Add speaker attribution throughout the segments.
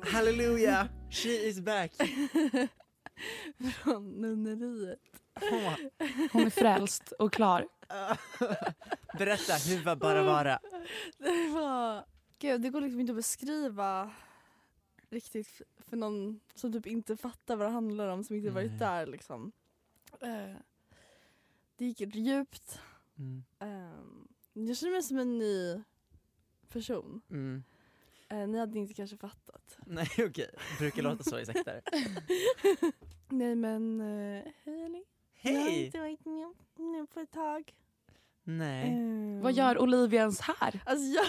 Speaker 1: Hallelujah, she is back.
Speaker 2: Från nunneriet.
Speaker 1: Hon var-
Speaker 3: Hon är frälst och klar.
Speaker 1: Berätta, hur var bara vara?
Speaker 2: Det var... Gud, det går liksom inte att beskriva riktigt f- för någon som typ inte fattar vad det handlar om, som inte
Speaker 1: Nej.
Speaker 2: varit där liksom. Eh, Det gick djupt.
Speaker 1: Mm.
Speaker 2: Ehm, Jag känner mig som en ny person.
Speaker 1: Mm.
Speaker 2: Eh, Ni hade inte kanske fattat.
Speaker 1: Nej okej, brukar låta så i sekter.
Speaker 2: Nej men, eh, hej hörni. Jag har
Speaker 1: Hej!
Speaker 2: inte varit med nu på ett tag.
Speaker 1: Nej.
Speaker 2: Ehm,
Speaker 3: Vad gör Olivia ens här?
Speaker 2: Alltså jag,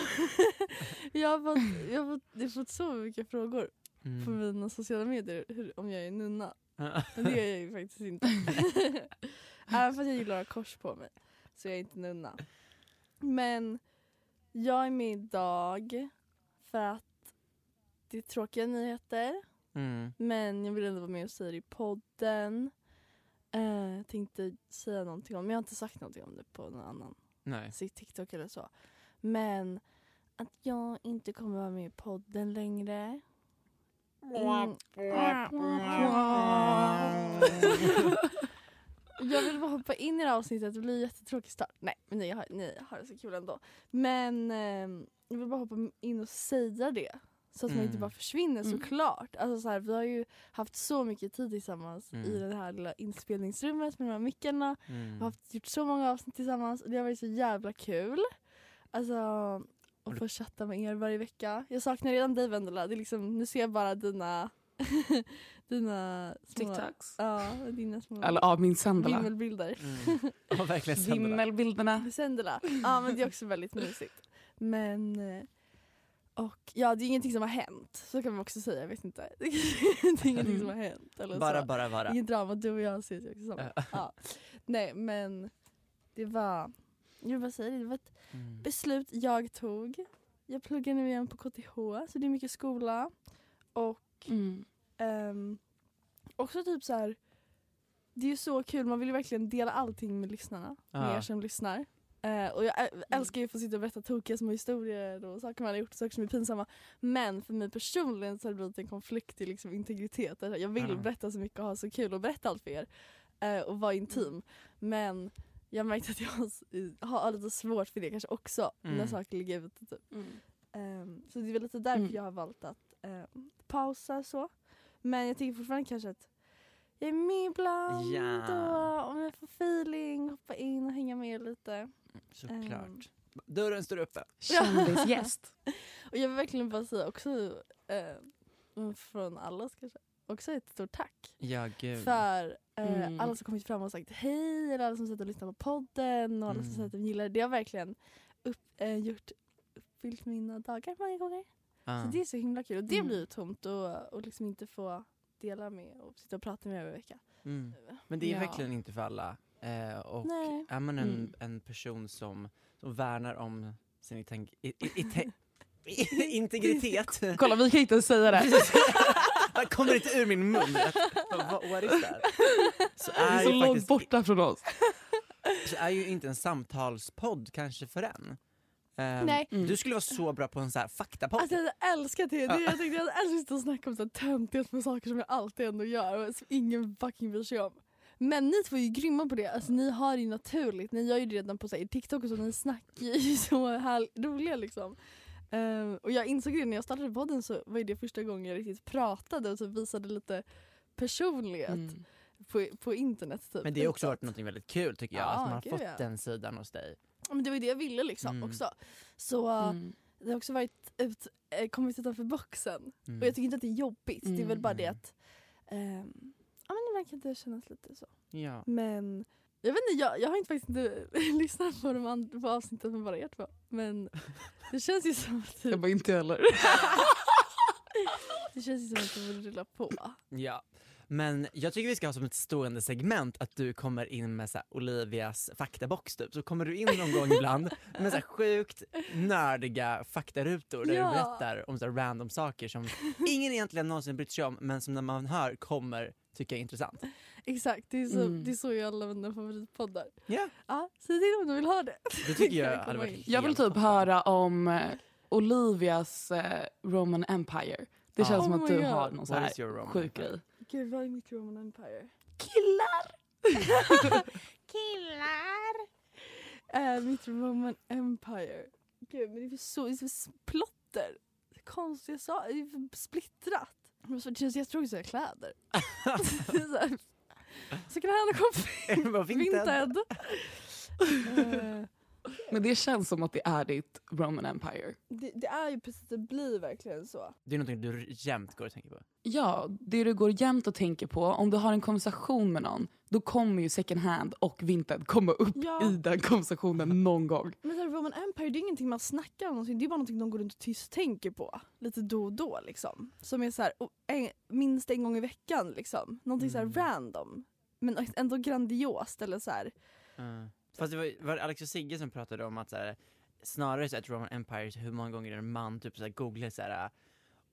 Speaker 2: jag, har fått, jag, har fått, jag har fått så mycket frågor på
Speaker 1: Mm.
Speaker 2: mina sociala medier hur, om jag är nunna. Men det är jag ju faktiskt inte. Även för att jag gillar att ha kors på mig så jag är inte nunna. Men jag är med idag för att det är tråkiga nyheter
Speaker 1: Mm.
Speaker 2: men jag vill ändå vara med och säga det i podden. Eh, Jag tänkte säga någonting om, jag har inte sagt någonting om det på någon annan
Speaker 1: Nej.
Speaker 2: sitt TikTok eller så. Men att jag inte kommer vara med i podden längre. Mm. jag vill bara hoppa in i det här avsnittet, det blir en jättetråkig start. Nej, men ni har, ni har det så kul ändå. Men ehm, jag vill bara hoppa in och säga det. Så att man inte
Speaker 1: Mm.
Speaker 2: bara försvinner
Speaker 3: Mm.
Speaker 2: såklart. Alltså så här, vi har ju haft så mycket tid tillsammans
Speaker 1: Mm.
Speaker 2: i det här lilla inspelningsrummet med de här mickarna. Vi
Speaker 1: Mm.
Speaker 2: har haft, gjort så många avsnitt tillsammans och det har varit så jävla kul. Alltså, att få chatta med er varje vecka. Jag saknar redan dig Vendela. Det är liksom, nu ser jag bara dina... dina små,
Speaker 3: TikToks.
Speaker 2: Ja, dina små
Speaker 3: Eller av min Sandela.
Speaker 2: vimmelbilder.
Speaker 1: Mm. Ja, verkligen Sandra.
Speaker 3: Vimmelbilderna.
Speaker 2: Vendela. Ja, men det är också väldigt mysigt. Men... eh, Och ja, det är ingenting som har hänt. Så kan man också säga, jag vet inte. Det är ingenting som har hänt. Eller så.
Speaker 1: Mm. Bara, bara, bara.
Speaker 2: Inget drama, du och jag ses ju också samma.
Speaker 1: Ja.
Speaker 2: Ja. Nej men det var, jag vill bara säga det, det var ett
Speaker 1: Mm.
Speaker 2: beslut jag tog. Jag pluggar nu igen på KTH så det är mycket skola. Och
Speaker 3: Mm.
Speaker 2: ehm, också typ så här. det är ju så kul, man vill ju verkligen dela allting med lyssnarna, med
Speaker 1: Ja. Mm.
Speaker 2: er som lyssnar. Eh, och jag ä- älskar ju att få sitta och berätta tokiga små historier och saker man har gjort, saker som är pinsamma. Men för mig personligen så har det blivit en konflikt i liksom integritet. Alltså, Jag vill
Speaker 1: Ja.
Speaker 2: berätta så mycket och ha så kul och berätta allt för er. eh, och vara
Speaker 1: Mm.
Speaker 2: intim. Men jag märkte att jag har s- har lite svårt för det kanske också när
Speaker 1: Mm.
Speaker 2: saker ligger ute. Typ.
Speaker 3: Mm.
Speaker 2: Ehm, så det är väl lite därför
Speaker 3: Mm.
Speaker 2: jag har valt att ehm, pausa så. Men jag tycker fortfarande kanske att jag är med ibland
Speaker 1: Ja.
Speaker 2: och om jag får feeling hoppa in och hänga med er lite. Ehm.
Speaker 1: Såklart. Dörren står uppe.
Speaker 3: Kändisgäst.
Speaker 2: Och jag vill verkligen bara säga också ehm, från allas kanske, också ett stort tack
Speaker 1: Ja, gud.
Speaker 2: för eh,
Speaker 3: Mm.
Speaker 2: alla som kommit fram och sagt hej eller alla som sett och lyssnat på podden och alla som
Speaker 1: Mm.
Speaker 2: sagt att de gillar det. Det har verkligen upp, eh, gjort upp, fyllt mina dagar många gånger.
Speaker 1: Ah.
Speaker 2: Så det är så himla kul. Och det
Speaker 3: Mm.
Speaker 2: blir ju tomt och, och liksom inte få dela med och sitta och prata med över en vecka.
Speaker 1: Mm. Men det är
Speaker 3: Ja.
Speaker 1: verkligen inte för alla. Eh, och
Speaker 2: Nej.
Speaker 1: är man en,
Speaker 3: Mm.
Speaker 1: en person som, som värnar om sin itank- i, i, i, te- i- integritet.
Speaker 3: Kolla vi kan inte ens säga det.
Speaker 1: Precis. Det kommer inte ur min mun. Vad what is that? Så
Speaker 3: Det är
Speaker 1: är,
Speaker 3: så
Speaker 1: ju
Speaker 3: långt
Speaker 1: faktiskt,
Speaker 3: borta från oss.
Speaker 1: så är ju inte en samtalspodd kanske för en. Ehm,
Speaker 2: Nej.
Speaker 3: Mm.
Speaker 1: Du skulle vara så bra på en så här faktapodd.
Speaker 2: Alltså jag älskar det.
Speaker 1: Ja.
Speaker 2: det jag tänkte jag hade älskat att snacka om så här töntiga små saker som jag alltid ändå gör och som ingen fucking bryr sig om. Men ni två är ju grymma på det. Alltså, ni har det ju naturligt. Ni gör ju det redan på så här, i TikTok och så. Ni snackar ju så här roliga liksom. Ehm, och jag insåg det när jag startade podden så var ju det första gången jag riktigt pratade och så visade lite personlighet
Speaker 3: Mm.
Speaker 2: på, på internet. Typ,
Speaker 1: Men det har också varit
Speaker 2: utåt.
Speaker 1: något väldigt kul tycker jag,
Speaker 2: Ja,
Speaker 1: att man har
Speaker 2: gud,
Speaker 1: fått
Speaker 2: ja.
Speaker 1: den sidan hos dig.
Speaker 2: Men det var ju det jag ville liksom
Speaker 1: Mm.
Speaker 2: också. Så eh,
Speaker 3: Mm.
Speaker 2: det har också varit ut, eh, kommit utanför boxen.
Speaker 1: Mm.
Speaker 2: Och jag tycker inte att det är jobbigt. Det är väl
Speaker 3: Mm,
Speaker 2: bara det
Speaker 1: mm.
Speaker 2: att ehm, ja, men ibland kan det kännas lite så.
Speaker 1: ja.
Speaker 2: Men jag vet inte, jag, jag har inte faktiskt inte lyssnat på, de and- på avsnitten med bara er två. Men det känns ju som att
Speaker 3: Jag
Speaker 2: det,
Speaker 3: bara inte heller.
Speaker 2: det, känns ju som att det borde rulla på.
Speaker 1: Ja. Men jag tycker vi ska ha som ett stående segment att du kommer in med så här Olivias faktabox typ. Så kommer du in någon gång ibland med så här sjukt nördiga faktarutor där
Speaker 2: Ja.
Speaker 1: du berättar om så här random saker som ingen egentligen någonsin brytt sig om men som när man hör kommer tycka är intressant.
Speaker 2: Exakt, det är så,
Speaker 3: Mm.
Speaker 2: det är så jag alla mina favoritpoddar.
Speaker 1: Ja,
Speaker 2: Ja, säg till om du vill ha det.
Speaker 1: det tycker
Speaker 2: Kan jag
Speaker 1: jag hade
Speaker 2: komma
Speaker 1: varit
Speaker 2: in?
Speaker 1: helt
Speaker 3: Jag vill typ
Speaker 1: toppen.
Speaker 3: höra om eh, Olivias eh, Roman Empire. Det
Speaker 1: Ja.
Speaker 3: känns som
Speaker 2: Oh
Speaker 3: att
Speaker 2: my
Speaker 3: du
Speaker 2: God.
Speaker 3: har någon sån
Speaker 1: What
Speaker 3: här
Speaker 1: is your Roman
Speaker 3: sjuk
Speaker 1: Empire?
Speaker 3: grej.
Speaker 2: Gud, vad är mitt Roman Empire?
Speaker 3: Killar!
Speaker 2: Eh, mitt Roman Empire. Gud, men det är för så, det är för s- plotter. Konstiga saker. Det är för splittrat. Men så- Det känns jättetråkigt att säga kläder. Det är så, här, så kan det hända kompis.
Speaker 1: Vad vintage.
Speaker 2: Vinted. Eh,
Speaker 3: Men det känns som att det är ditt Roman Empire.
Speaker 2: det, det är ju precis, det blir verkligen så.
Speaker 1: Det är någonting du jämt går och tänker på.
Speaker 3: Ja, det du går jämt och tänker på, om du har en konversation med någon, då kommer ju second hand och vintage komma upp
Speaker 2: Ja.
Speaker 3: i den konversationen någon gång.
Speaker 2: Men så här, Roman Empire det är ingenting man snackar om någonsin. Det är bara någonting de går runt och tyst tänker på. Lite då och då liksom. Som är så här, och en, minst en gång i veckan liksom. Någonting
Speaker 1: Mm.
Speaker 2: så här random. Men ändå grandiost eller så här.
Speaker 1: Mm. Fast det var, var det Alex och Sigge som pratade om att så här, snarare så att Roman Empire, så hur många gånger en man typ så här, googlar så här.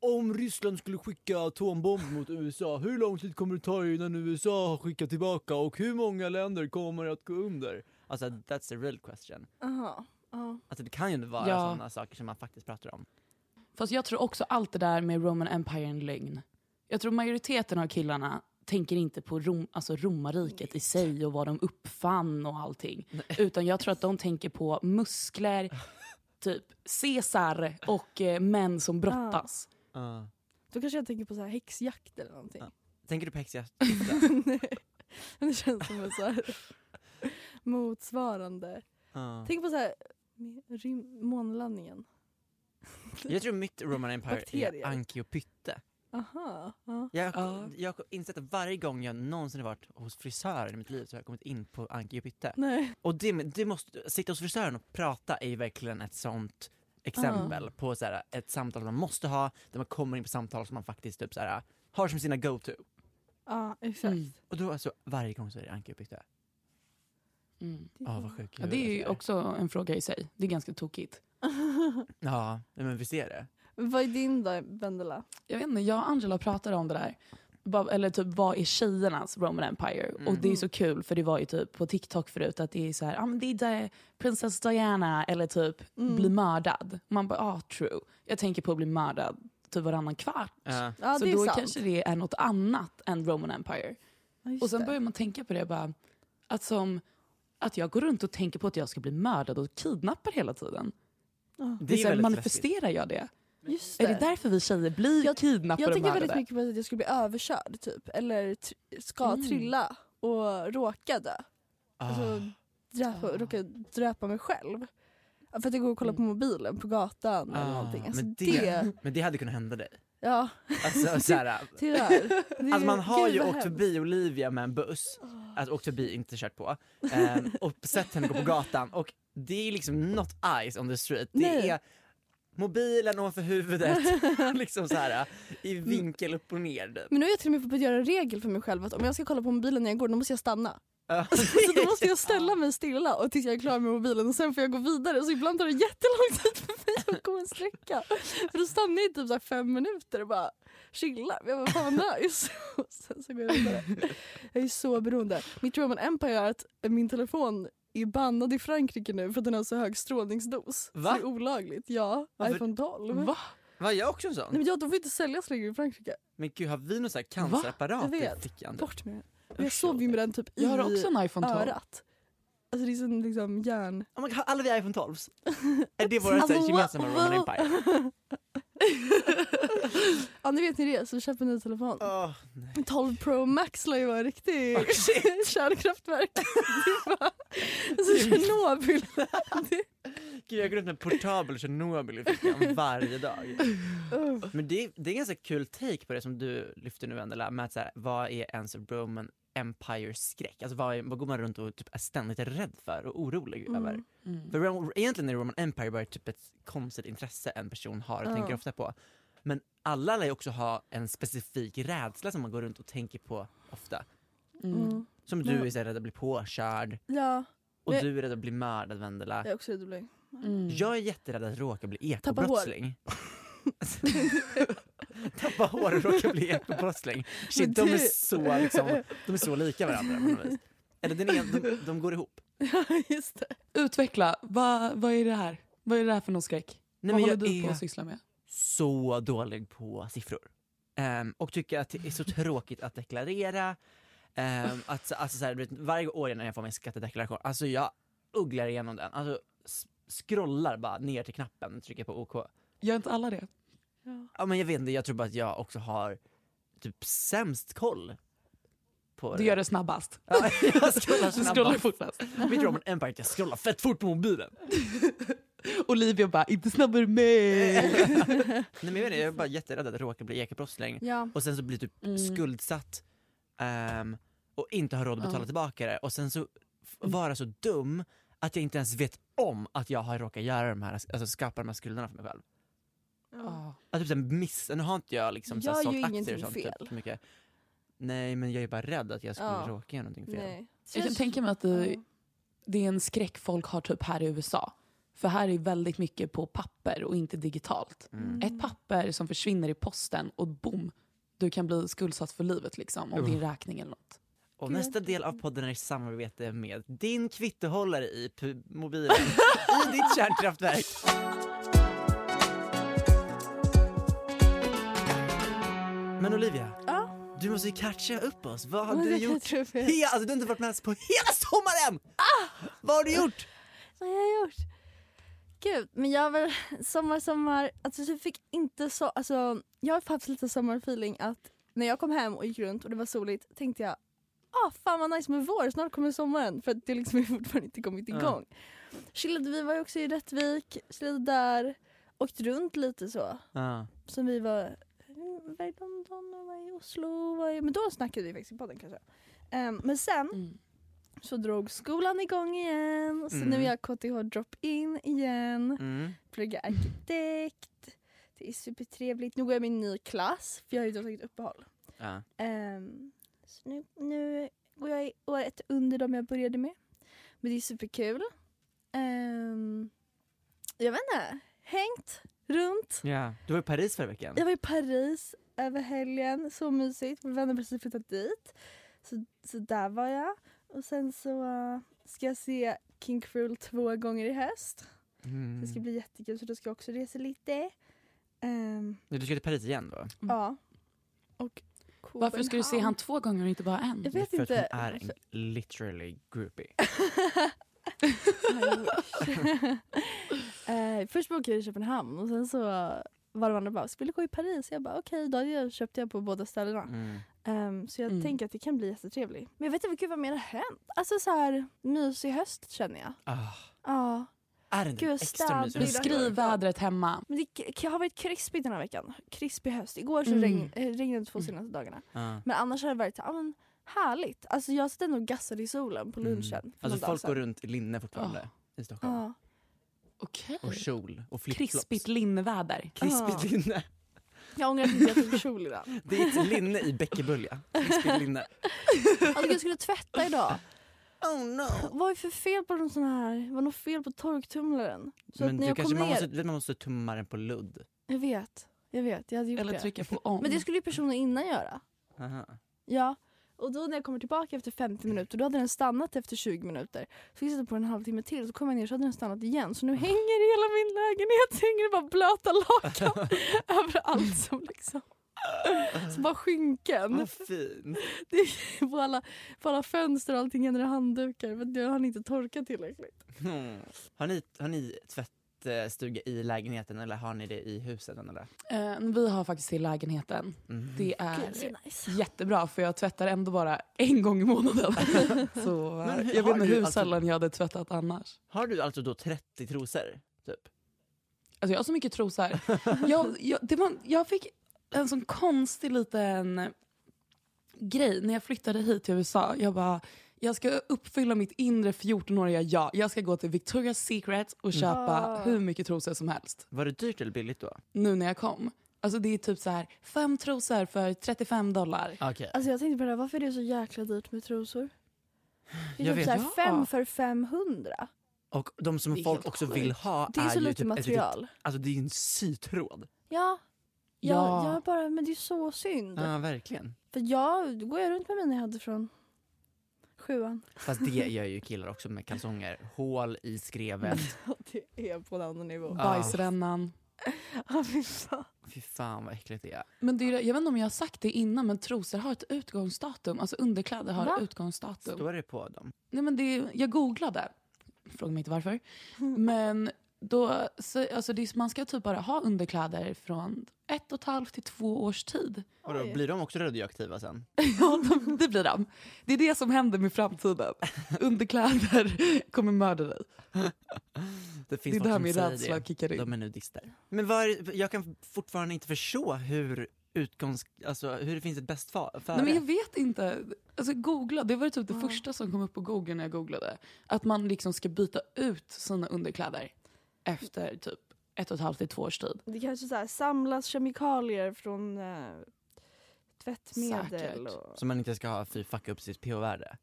Speaker 1: Om Ryssland skulle skicka atombomb mot USA, hur lång tid kommer det ta innan USA har skickat tillbaka och hur många länder kommer att gå under? Alltså that's a real question.
Speaker 2: Aha. Ja.
Speaker 1: Alltså det kan ju inte vara
Speaker 3: Ja.
Speaker 1: sådana saker som man faktiskt pratar om.
Speaker 3: Fast jag tror också allt det där med Roman Empire är en lögn. Jag tror majoriteten av killarna tänker inte på Rom, alltså romarriket i sig och vad de uppfann och allting. Utan jag tror att de tänker på muskler, typ Caesar och eh, män som brottas.
Speaker 1: Uh.
Speaker 2: Då kanske jag tänker på så här häxjakt eller någonting.
Speaker 1: Ja. Tänker du på häxjakt?
Speaker 2: Nej. Men det känns som en så här motsvarande.
Speaker 1: Ja.
Speaker 2: Tänk på så här rym- månlandningen.
Speaker 1: Jag tror mitt Roman Empire
Speaker 2: Bakterier.
Speaker 1: är ankiopytte.
Speaker 2: Aha. Ja.
Speaker 1: Jag,
Speaker 3: Ja.
Speaker 1: jag har insett att varje gång jag någonsin har varit hos frisören i mitt liv så har jag kommit in på ankiopytte.
Speaker 2: Nej.
Speaker 1: Och det, det måste, sitta hos frisören och prata är ju verkligen ett sånt exempel på så här, ett samtal man måste ha, där man kommer in på samtal som man faktiskt typ så här, har som sina go-to.
Speaker 2: Ja exakt.
Speaker 3: Mm.
Speaker 1: Och då alltså, varje gång så är det ankeutbyte.
Speaker 3: Mm.
Speaker 1: Ja, vad sjuk
Speaker 3: Ja, det är ju
Speaker 1: jag är.
Speaker 3: också en fråga i sig. Det är ganska tokigt.
Speaker 1: Ja, nej, men vi ser det.
Speaker 2: Vad är din då Vendela?
Speaker 3: Jag vet inte, jag och Angela pratade om det där. Bara- Eller typ vad är tjejernas Roman Empire? Och
Speaker 2: Mm.
Speaker 3: det är så kul för det var ju typ på TikTok förut att det är så här, ah, men det är där prinsess Diana eller typ
Speaker 2: Mm.
Speaker 3: bli mördad. Man bara, ah true. Jag tänker på att bli mördad typ varannan kvart.
Speaker 1: Ja.
Speaker 2: Ja
Speaker 3: så
Speaker 2: det är
Speaker 3: då
Speaker 2: sant.
Speaker 3: kanske det är något annat än Roman Empire.
Speaker 2: Ja, just
Speaker 3: Och sen
Speaker 2: det.
Speaker 3: börjar man tänka på det bara, att som att jag går runt och tänker på att jag ska bli mördad och kidnappad hela tiden.
Speaker 1: Det
Speaker 3: Det är så här,
Speaker 1: väldigt läskigt.
Speaker 3: manifesterar jag det?
Speaker 2: Just
Speaker 3: Är det därför vi tjejer blir kidnappade
Speaker 2: Jag
Speaker 3: och
Speaker 2: tänker
Speaker 3: mördade?
Speaker 2: väldigt mycket på att jag skulle bli överkörd typ. Eller tr- ska
Speaker 3: Mm.
Speaker 2: trilla och råka dö.
Speaker 1: Ah.
Speaker 2: Alltså, dräpa,
Speaker 3: Ah.
Speaker 2: råka dräpa mig själv. Ja, För att jag går och kollar på
Speaker 3: Mm.
Speaker 2: mobilen på gatan eller
Speaker 1: Ah,
Speaker 2: någonting. Alltså,
Speaker 1: men
Speaker 2: det,
Speaker 1: det- Men det hade kunnat hända dig.
Speaker 2: Ja,
Speaker 1: Alltså, så här,
Speaker 2: tyvärr. Det är-
Speaker 1: Alltså man har
Speaker 2: gud,
Speaker 1: ju
Speaker 2: vad
Speaker 1: åkt
Speaker 2: hemskt.
Speaker 1: förbi Olivia med en buss, alltså åkt förbi, inte kört på, ehm, och sett henne gå på gatan och det är liksom not eyes on the street. Det
Speaker 2: Nej.
Speaker 1: är mobilen ovanför huvudet, liksom så här i
Speaker 2: Mm.
Speaker 1: vinkel upp och ner. typ.
Speaker 2: Men nu har jag till och med fått göra en regel för mig själv att om jag ska kolla på mobilen när jag går då måste jag stanna.
Speaker 1: Ja.
Speaker 2: Så då måste jag ställa mig stilla och tills jag är klar med mobilen och sen får jag gå vidare. Så ibland tar det jättelång tid för mig att gå en sträcka. För då stannar jag i typ så här fem minuter och bara chillar. Jag bara, fan vad nice. Och sen så går jag vidare. Jag är så beroende. Mitt Roman Empire är att min telefon är bannad i Frankrike nu för att den har så hög strålningsdos.
Speaker 1: Va?
Speaker 2: Så det är olagligt. Ja,
Speaker 1: Varför-
Speaker 2: iPhone 12.
Speaker 3: Va?
Speaker 1: Var jag också en
Speaker 2: Nej,
Speaker 1: sån?
Speaker 2: men ja, de får inte säljas längre i Frankrike.
Speaker 1: Men gud, har vi någon sån här
Speaker 2: Jag
Speaker 1: cancerapparat i
Speaker 2: vet.
Speaker 1: fickan?
Speaker 2: Bort med den. Men Jag sov ju med den typ i
Speaker 3: Jag har också en iPhone 12.
Speaker 2: örat. Alltså det är som liksom järn... Alltså,
Speaker 1: Oh my God, har alla vi iPhone 12 Är det våra så här
Speaker 2: Alla-
Speaker 1: gemensamma Roman Empire?
Speaker 2: Ja nu vet ni det, så köp en ny telefon.
Speaker 1: Åh, nej.
Speaker 2: 12 Pro Max lär ju vara en riktig
Speaker 1: Oh, shit.
Speaker 2: kärnkraftverk. Det är bara- alltså Tjernobyl.
Speaker 1: Gud, jag går runt med en portabel Tjernobyl i fickan varje dag.
Speaker 2: Uh.
Speaker 1: Men det, det är en ganska kul take på det som du lyfter nu Angela, med att så här, vad är ens Roman Empire-skräck? Alltså vad, är, vad går man runt och typ är ständigt rädd för och orolig
Speaker 2: Mm.
Speaker 1: över?
Speaker 3: Mm.
Speaker 1: För Roman, egentligen är Roman Empire bara typ ett konstigt intresse en person har och
Speaker 2: Ja.
Speaker 1: tänker ofta på. Men alla lär ju också ha en specifik rädsla som man går runt och tänker på ofta.
Speaker 3: Mm.
Speaker 2: Mm.
Speaker 1: Som du
Speaker 2: Ja.
Speaker 1: är så här rädd att bli påkörd
Speaker 2: Ja,
Speaker 1: och
Speaker 2: Men-
Speaker 1: du är rädd att bli mördad Vendela.
Speaker 2: jag är också dubbling.
Speaker 3: Mm.
Speaker 1: Jag är jätterädd att råka bli
Speaker 2: Tappa hår.
Speaker 1: ekobrottsling. Tappa hår och råka bli ekobrottsling. Shit,
Speaker 2: Men
Speaker 1: de är
Speaker 2: du-
Speaker 1: så, liksom, de är så lika varandra på något vis. Eller den ena, de, de går ihop.
Speaker 2: Ja just det.
Speaker 3: Utveckla, vad, vad är det här? Vad är det här för någon skräck?
Speaker 1: Nej,
Speaker 3: vad
Speaker 1: men
Speaker 3: håller
Speaker 1: jag
Speaker 3: du på
Speaker 1: är
Speaker 3: att syssla med?
Speaker 1: så dålig på siffror. Ehm, och tycker att det är så tråkigt att deklarera. Ehm, att, så- alltså, så här, du vet, varje år när jag får min skattedeklaration, alltså jag ugglar igenom den. Alltså, s- scrollar bara ner till knappen, trycker på OK.
Speaker 3: Gör inte alla det?
Speaker 1: Ja men jag vet inte, jag tror bara att jag också har typ sämst koll. På
Speaker 3: Du gör det snabbast.
Speaker 1: Ja, jag scrollar
Speaker 3: Du scrollar
Speaker 1: snabbt.
Speaker 3: fortast.
Speaker 1: Mitt Roman Empire, jag scrollar fett fort på mobilen.
Speaker 3: Olivia bara, inte snabbare än mig.
Speaker 1: Nej men jag vet inte, jag är bara jätterädd att råka bli ekobrottsling.
Speaker 2: Ja.
Speaker 1: Och sen så blir typ
Speaker 3: Mm.
Speaker 1: skuldsatt ehm, och inte har råd att betala
Speaker 3: Ja.
Speaker 1: tillbaka det. Och sen så f- vara så dum att jag inte ens vet om att jag har råkat göra de här, alltså skapa de här skulderna för mig själv.
Speaker 2: Ja.
Speaker 1: Att typ sen miss, nu har inte jag liksom så här
Speaker 2: Jag
Speaker 1: sålt
Speaker 2: gör
Speaker 1: aktier och
Speaker 2: ingenting
Speaker 1: sånt
Speaker 2: fel.
Speaker 1: Typ, så mycket. Nej men jag är bara rädd att jag skulle
Speaker 2: Ja.
Speaker 1: råka göra någonting fel.
Speaker 2: Nej.
Speaker 3: Jag kan tänka mig att det, det är en skräck folk har typ här i USA. För här är väldigt mycket på papper och inte digitalt. Ett papper som försvinner i posten och boom, du kan bli skuldsatt för livet liksom om
Speaker 1: Oh.
Speaker 3: din räkning eller något.
Speaker 1: Och nästa del av podden är i samarbete med din kvittohållare i pu- mobilen, i ditt kärnkraftverk. Men Olivia,
Speaker 2: Ja.
Speaker 1: du måste ju catcha upp oss. Vad har
Speaker 2: Men
Speaker 1: du
Speaker 2: det
Speaker 1: gjort?
Speaker 2: tror jag-
Speaker 1: He- alltså, du har inte varit med oss på hela sommaren! Vad har du gjort?
Speaker 2: Vad har jag gjort? Gud, men jag har väl sommar, sommar. Alltså jag fick inte så, alltså jag har haft lite sommarfeeling att när jag kom hem och gick runt och det var soligt tänkte jag ah fan vad nice med vår, snart kommer sommaren för att det liksom är fortfarande inte kommit
Speaker 1: Ja.
Speaker 2: igång. Chillade, vi var ju också i Rättvik, chillade där, åkt runt lite så.
Speaker 1: Ja,
Speaker 2: Som vi var, mm, var i London och var i Oslo, var i, men då snackade vi faktiskt i podden kanske. Ehm, men sen
Speaker 3: Mm.
Speaker 2: så drog skolan igång igen. och Så
Speaker 1: Mm.
Speaker 2: nu är jag KTH drop-in igen.
Speaker 1: mm.
Speaker 2: Pluggar arkitekt. Det är supertrevligt. Nu går jag med i en ny klass för jag har ju då tagit uppehåll.
Speaker 1: ja.
Speaker 2: Ehm, så nu, nu går jag i året under de jag började med. Men det är superkul. Ehm, jag vet inte. Hängt runt.
Speaker 1: ja. Du var i Paris förra veckan.
Speaker 2: Jag var i Paris över helgen, så mysigt. Min vän har precis flyttat dit. Så, så där var jag. Och sen så eh, ska jag se King Cruel två gånger i höst. Det ska
Speaker 1: Mm.
Speaker 2: bli jättekul så då ska jag också resa lite.
Speaker 3: Mm.
Speaker 2: Ehm,
Speaker 1: Du ska till Paris igen då?
Speaker 2: Ja. Och
Speaker 3: Varför ska du se han två gånger och inte bara en?
Speaker 2: Jag vet
Speaker 1: för
Speaker 2: inte. Alltså-
Speaker 1: att hon är en literally groupie.
Speaker 2: Kopenhamn? Eh, först bokade jag i Köpenhamn och sen så var de andra bara, skulle gå i Paris? Jag bara okej, då köpte jag på båda ställena.
Speaker 1: Mm.
Speaker 2: Ehm, så jag
Speaker 3: Mm.
Speaker 2: tänker att det kan bli jättetrevligt. Men jag vet inte gud, vad mer har hänt. Alltså så här, mysig höst känner jag.
Speaker 1: Ah.
Speaker 2: Ja.
Speaker 1: Är det inte
Speaker 2: Gud,
Speaker 1: extra
Speaker 2: städ-
Speaker 1: mysigt?
Speaker 2: blir det-
Speaker 3: Skriv vädret hemma.
Speaker 2: Men det k- har varit krispigt den här veckan. Krispig höst. Igår så
Speaker 3: Mm.
Speaker 2: regn, eh, regnade det två
Speaker 1: Mm.
Speaker 2: senaste dagarna.
Speaker 1: Ja.
Speaker 2: Men annars har det varit ah, men, härligt. Alltså jag satt ändå och gassade i solen på lunchen.
Speaker 1: Alltså Mm. folk går
Speaker 2: runt. Ah.
Speaker 1: runt i linne fortfarande i Stockholm.
Speaker 2: Ja.
Speaker 3: Okej.
Speaker 1: och kjol och flipflops.
Speaker 3: Krispigt linneväder.
Speaker 2: Ah.
Speaker 1: Krispigt linne.
Speaker 2: Jag ångrar att inte jag tog kjol idag.
Speaker 1: Det är ett linne i bäckebölja. Krispigt linne.
Speaker 2: Alltså jag skulle tvätta idag.
Speaker 1: Oh no.
Speaker 2: Vad är för fel på de såna här? Vad är något fel på torktumlaren? Så
Speaker 1: Men
Speaker 2: att när
Speaker 1: du
Speaker 2: jag kom
Speaker 1: kanske,
Speaker 2: ner...
Speaker 1: man, måste, man måste tumma den på ludd.
Speaker 2: Jag vet, jag vet. Jag hade gjort
Speaker 3: Eller
Speaker 2: det.
Speaker 3: trycka på on.
Speaker 2: Men det skulle ju personen innan göra.
Speaker 1: Aha.
Speaker 2: Ja. Och då när jag kommer tillbaka efter 50 minuter, då hade den stannat efter 20 minuter. Så fick jag sätta på den en halvtimme till, så kom jag ner så hade den stannat igen. Så nu hänger hela min lägenhet, hänger det bara blöta lakan överallt som liksom... Så bara skynken
Speaker 1: Ah, Vad fin.
Speaker 2: det är på, alla, på alla fönster och allting händer i handdukar för att jag har inte torkat tillräckligt.
Speaker 1: Mm. Har ni, har ni tvättstuga i lägenheten eller har ni det i husen? Eller?
Speaker 3: Eh, vi har faktiskt i lägenheten.
Speaker 1: Mm.
Speaker 3: Ah, Det är
Speaker 2: Gud, så nice.
Speaker 3: jättebra för jag tvättar ändå bara en gång i månaden.
Speaker 1: Mm.
Speaker 3: Så eh,
Speaker 1: Men hur-
Speaker 3: jag
Speaker 1: har
Speaker 3: vet inte
Speaker 1: du
Speaker 3: hur
Speaker 1: alltså-
Speaker 3: sällan jag hade tvättat annars.
Speaker 1: Har du alltså då 30 trosor? Typ?
Speaker 3: Alltså jag har så mycket trosor. Jag, jag, det var, jag fick en sån konstig liten grej när jag flyttade hit till USA. Jag bara, jag ska uppfylla mitt inre 14-åriga jag. Jag ska gå till Victoria's Secret och köpa
Speaker 2: Ah.
Speaker 3: hur mycket trosor som helst.
Speaker 1: Var det dyrt eller billigt då?
Speaker 3: Nu när jag kom. Alltså det är typ så här, fem trosor för 35 dollar.
Speaker 1: Okej.
Speaker 2: Alltså jag tänkte på det här, varför är det så jäkla dyrt med trosor? Det är
Speaker 1: Jag
Speaker 2: typ
Speaker 1: vet.
Speaker 2: såhär
Speaker 3: Ja.
Speaker 2: fem för 500.
Speaker 1: Och de
Speaker 3: Det
Speaker 1: som
Speaker 3: är
Speaker 1: folk
Speaker 3: helt
Speaker 1: också
Speaker 3: sjukt.
Speaker 1: vill ha
Speaker 2: Det är så
Speaker 1: ju
Speaker 2: lite
Speaker 1: typ ett riktigt-
Speaker 2: material.
Speaker 1: Alltså det är ju en sytråd.
Speaker 2: Ja, ja,
Speaker 3: Ja.
Speaker 2: ja. bara, men det är så synd.
Speaker 1: Ja, verkligen.
Speaker 2: För jag, då går jag runt med mina jag hade från sjuan.
Speaker 1: Fast det gör ju killar också med kalsonger. Hål i skrevet.
Speaker 2: det är på en annan nivå.
Speaker 3: Bajsrännan.
Speaker 2: Ja, fy fan.
Speaker 1: Fy fan vad äckligt det är.
Speaker 3: Men det är, jag vet inte om jag har sagt det innan, men trosor har ett utgångsdatum. Alltså underkläder har
Speaker 2: Va?
Speaker 3: utgångsdatum.
Speaker 1: Står det på dem?
Speaker 3: Nej, men det, jag googlade, fråga mig inte varför. Men då, så, alltså det, är- man ska typ bara ha underkläder från ett och ett halvt till två års tid.
Speaker 1: Och då
Speaker 2: Oj.
Speaker 1: blir de också radioaktiva sen?
Speaker 3: Ja, de, det blir de. Det är det som händer med framtiden. Underkläder kommer mörda dig.
Speaker 1: Det
Speaker 3: Det är
Speaker 1: finns
Speaker 3: det här
Speaker 1: folk
Speaker 3: med
Speaker 1: som
Speaker 3: rädsla
Speaker 1: säger det.
Speaker 3: kickar in.
Speaker 1: De är nudister. Men vad är, jag kan fortfarande inte förstå hur utgångs... Alltså hur det finns ett bäst fa- före.
Speaker 3: Nej, men jag vet inte. Alltså, googla, det var typ det första som kom upp på Google när jag googlade. Att man liksom ska byta ut sina underkläder efter typ ett och ett halvt till två års tid.
Speaker 2: Det kanske så här, samlas kemikalier från eh, tvättmedel.
Speaker 3: Säkert.
Speaker 2: Och...
Speaker 1: Som man inte ska ha för att fucka upp sitt pH-värde.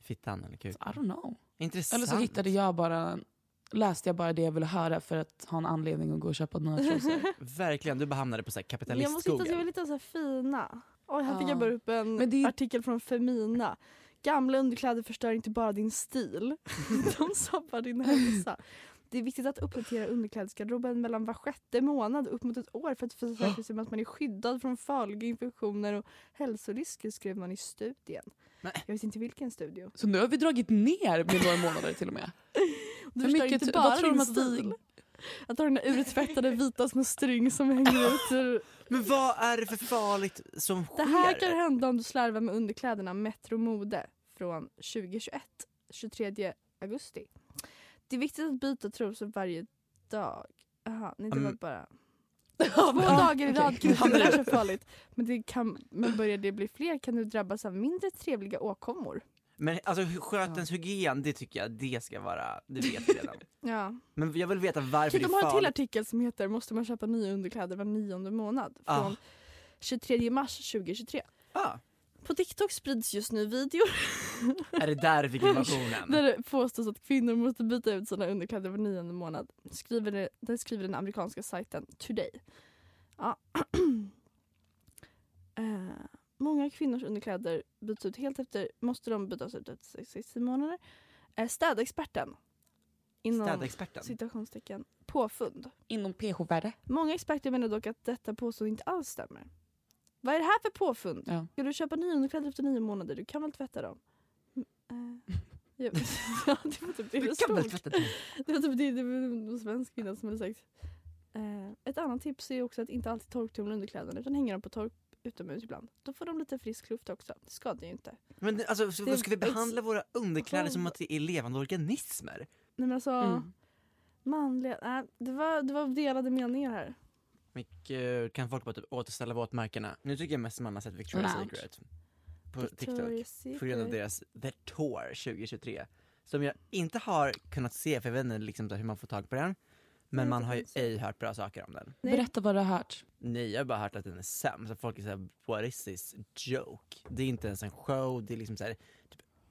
Speaker 1: Fittan eller kuk.
Speaker 3: I
Speaker 2: Alltså,
Speaker 3: don't know.
Speaker 1: Intressant.
Speaker 3: Eller så hittade jag bara, läste jag bara det jag ville höra för att ha en anledning att gå och köpa några trosor.
Speaker 1: Verkligen, du bara hamnade på så här
Speaker 2: Men Jag måste hitta så jag
Speaker 1: kapitalistskogen.
Speaker 2: vill hitta så här fina. Oj, här fick
Speaker 3: Ja.
Speaker 2: jag bara upp en
Speaker 3: Men det är-
Speaker 2: artikel från Femina. Gamla underkläder förstör inte bara din stil, de sabbar din hälsa. Det är viktigt att uppdatera underklädesgarderoben mellan var sjätte månad och upp mot ett år för att försäkra sig om att man är skyddad från farliga infektioner och hälsorisker skrev man i studien.
Speaker 1: Nej.
Speaker 2: Jag vet inte vilken studio.
Speaker 3: Så nu har vi dragit ner med några månader till och med.
Speaker 2: Du
Speaker 3: Hur
Speaker 2: förstör
Speaker 3: mycket
Speaker 2: inte
Speaker 3: t-
Speaker 2: bara
Speaker 3: vad tror
Speaker 2: din
Speaker 3: de att vi-
Speaker 2: stil. Att ha den där urtvättade vita små string som hänger ut ur
Speaker 1: Men vad är det för farligt som sker?
Speaker 2: Det här kan hända om du slarvar med underkläderna Metro Mode från 2021, 23 augusti. Det är viktigt att byta trosor varje dag. Jaha, nej det var
Speaker 1: Mm.
Speaker 2: bara...
Speaker 3: Ja,
Speaker 2: Två
Speaker 3: men-
Speaker 2: dagar i
Speaker 3: okej.
Speaker 2: rad kan inte vara så farligt. Men, det kan, men börjar det bli fler kan du drabbas av mindre trevliga åkommor.
Speaker 1: Men alltså hu- skötens hygien, det tycker jag det ska vara, det vet vi redan.
Speaker 2: Ja.
Speaker 1: Men jag vill veta varför
Speaker 2: Gud,
Speaker 1: det
Speaker 2: de har
Speaker 1: är
Speaker 2: en till
Speaker 1: farligt.
Speaker 2: artikel som heter Måste man köpa nya underkläder var nionde månad? Från
Speaker 1: Ah.
Speaker 2: 23 mars 2023.
Speaker 1: Ah,
Speaker 2: På TikTok sprids just nu videor
Speaker 1: är det där vi fick
Speaker 2: Där
Speaker 1: informationen?
Speaker 2: det påstås att kvinnor måste byta ut sina underkläder var nionde månad. Skriver det, det skriver den amerikanska sajten Today. Ja. eh, många kvinnors underkläder byts ut helt efter, måste de bytas ut efter 60 månader. Eh, städexperten. Inom
Speaker 1: Städexperten?
Speaker 2: citationstecken påfund.
Speaker 3: Inom pH-värde.
Speaker 2: Många experter menar dock att detta påstående inte alls stämmer. Vad är det här för påfund?
Speaker 3: Ja.
Speaker 2: Ska du köpa nya underkläder efter nio månader? Du kan väl tvätta dem? Mm, eh, jo. ja, det var typ det
Speaker 1: Du
Speaker 2: det
Speaker 1: kan väl
Speaker 2: stod.
Speaker 1: tvätta den?
Speaker 2: Det var typ det, det var en svensk kvinna som hade sagt. Eh, ett annat tips är också att inte alltid torktumla underkläderna utan hänga dem på tork utomhus ibland. Då får de lite frisk luft också. Det skadar ju inte.
Speaker 1: Men alltså, så,
Speaker 2: Det är-
Speaker 1: ska vi behandla våra underkläder som
Speaker 2: Håll-
Speaker 1: att det är levande organismer?
Speaker 2: Nej men alltså,
Speaker 3: Mm.
Speaker 2: manliga... Nej, det, var, det var delade meningar här.
Speaker 1: Men gud, kan folk bara typ återställa våtmarkerna? Nu tycker jag mest man har sett Victoria's
Speaker 3: Lounge.
Speaker 1: Secret på
Speaker 2: Victoria's
Speaker 1: TikTok på grund av
Speaker 2: Secret.
Speaker 1: deras The Tour 2023 som jag inte har kunnat se, för jag vet inte liksom, så här hur man får tag på den. Men
Speaker 2: Nej,
Speaker 1: man
Speaker 2: det
Speaker 1: har ju
Speaker 2: finns ju.
Speaker 1: ej hört bra saker om den.
Speaker 2: Nej.
Speaker 3: Berätta vad du har hört.
Speaker 1: Nej, jag har bara hört att den är sämst. Att Folk är såhär, what is this joke? Det är inte ens en show, det är liksom såhär,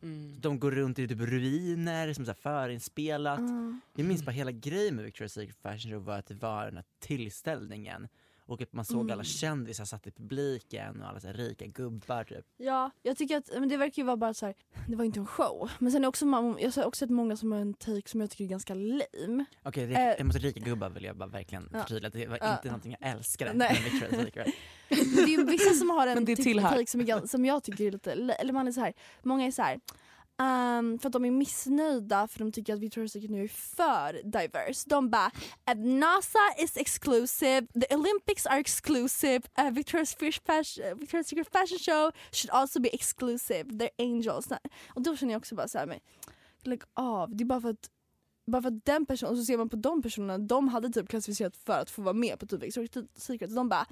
Speaker 3: Mm.
Speaker 1: de går runt i typ ruiner som är så här förinspelat.
Speaker 2: Mm.
Speaker 1: Jag minns bara hela grejen med Victoria's Secret Fashion Show var att det var den här tillställningen. Och att man såg
Speaker 2: Mm.
Speaker 1: alla kändisar satt i publiken och alla så här rika gubbar typ.
Speaker 2: Ja, jag tycker att men det verkar ju vara bara så här, det var inte en show. Men sen är också, ma- jag har också sett många som har en take som jag tycker är ganska lame.
Speaker 1: Okej,
Speaker 2: Eh.
Speaker 1: rika, jag måste rika gubbar vill jag bara verkligen
Speaker 2: Ja.
Speaker 1: förtydliga. Det var
Speaker 2: Ja.
Speaker 1: inte någonting jag älskade med
Speaker 2: Nej.
Speaker 1: Victoria's Secret.
Speaker 2: Men det är ju vissa som har en
Speaker 3: Men det
Speaker 2: tik-
Speaker 3: tillhör.
Speaker 2: take som, är, gan- som jag tycker är lite, la- eller man är så här, många är så här, ehm, för att de är missnöjda för de tycker att Victoria's Secret nu är för diverse. De bara, "Eh, NASA is exclusive, the Olympics are exclusive, eh, Victoria's, Fish Fashion, eh, Victoria's Secret fashion show should also be exclusive, they're angels. Och då känner jag också bara så här, men lägg av, det är bara för att bara för att den personen, och så ser man på de personerna, de hade typ klassificerat för att få vara med på typ Victoria's Secret. Så de bara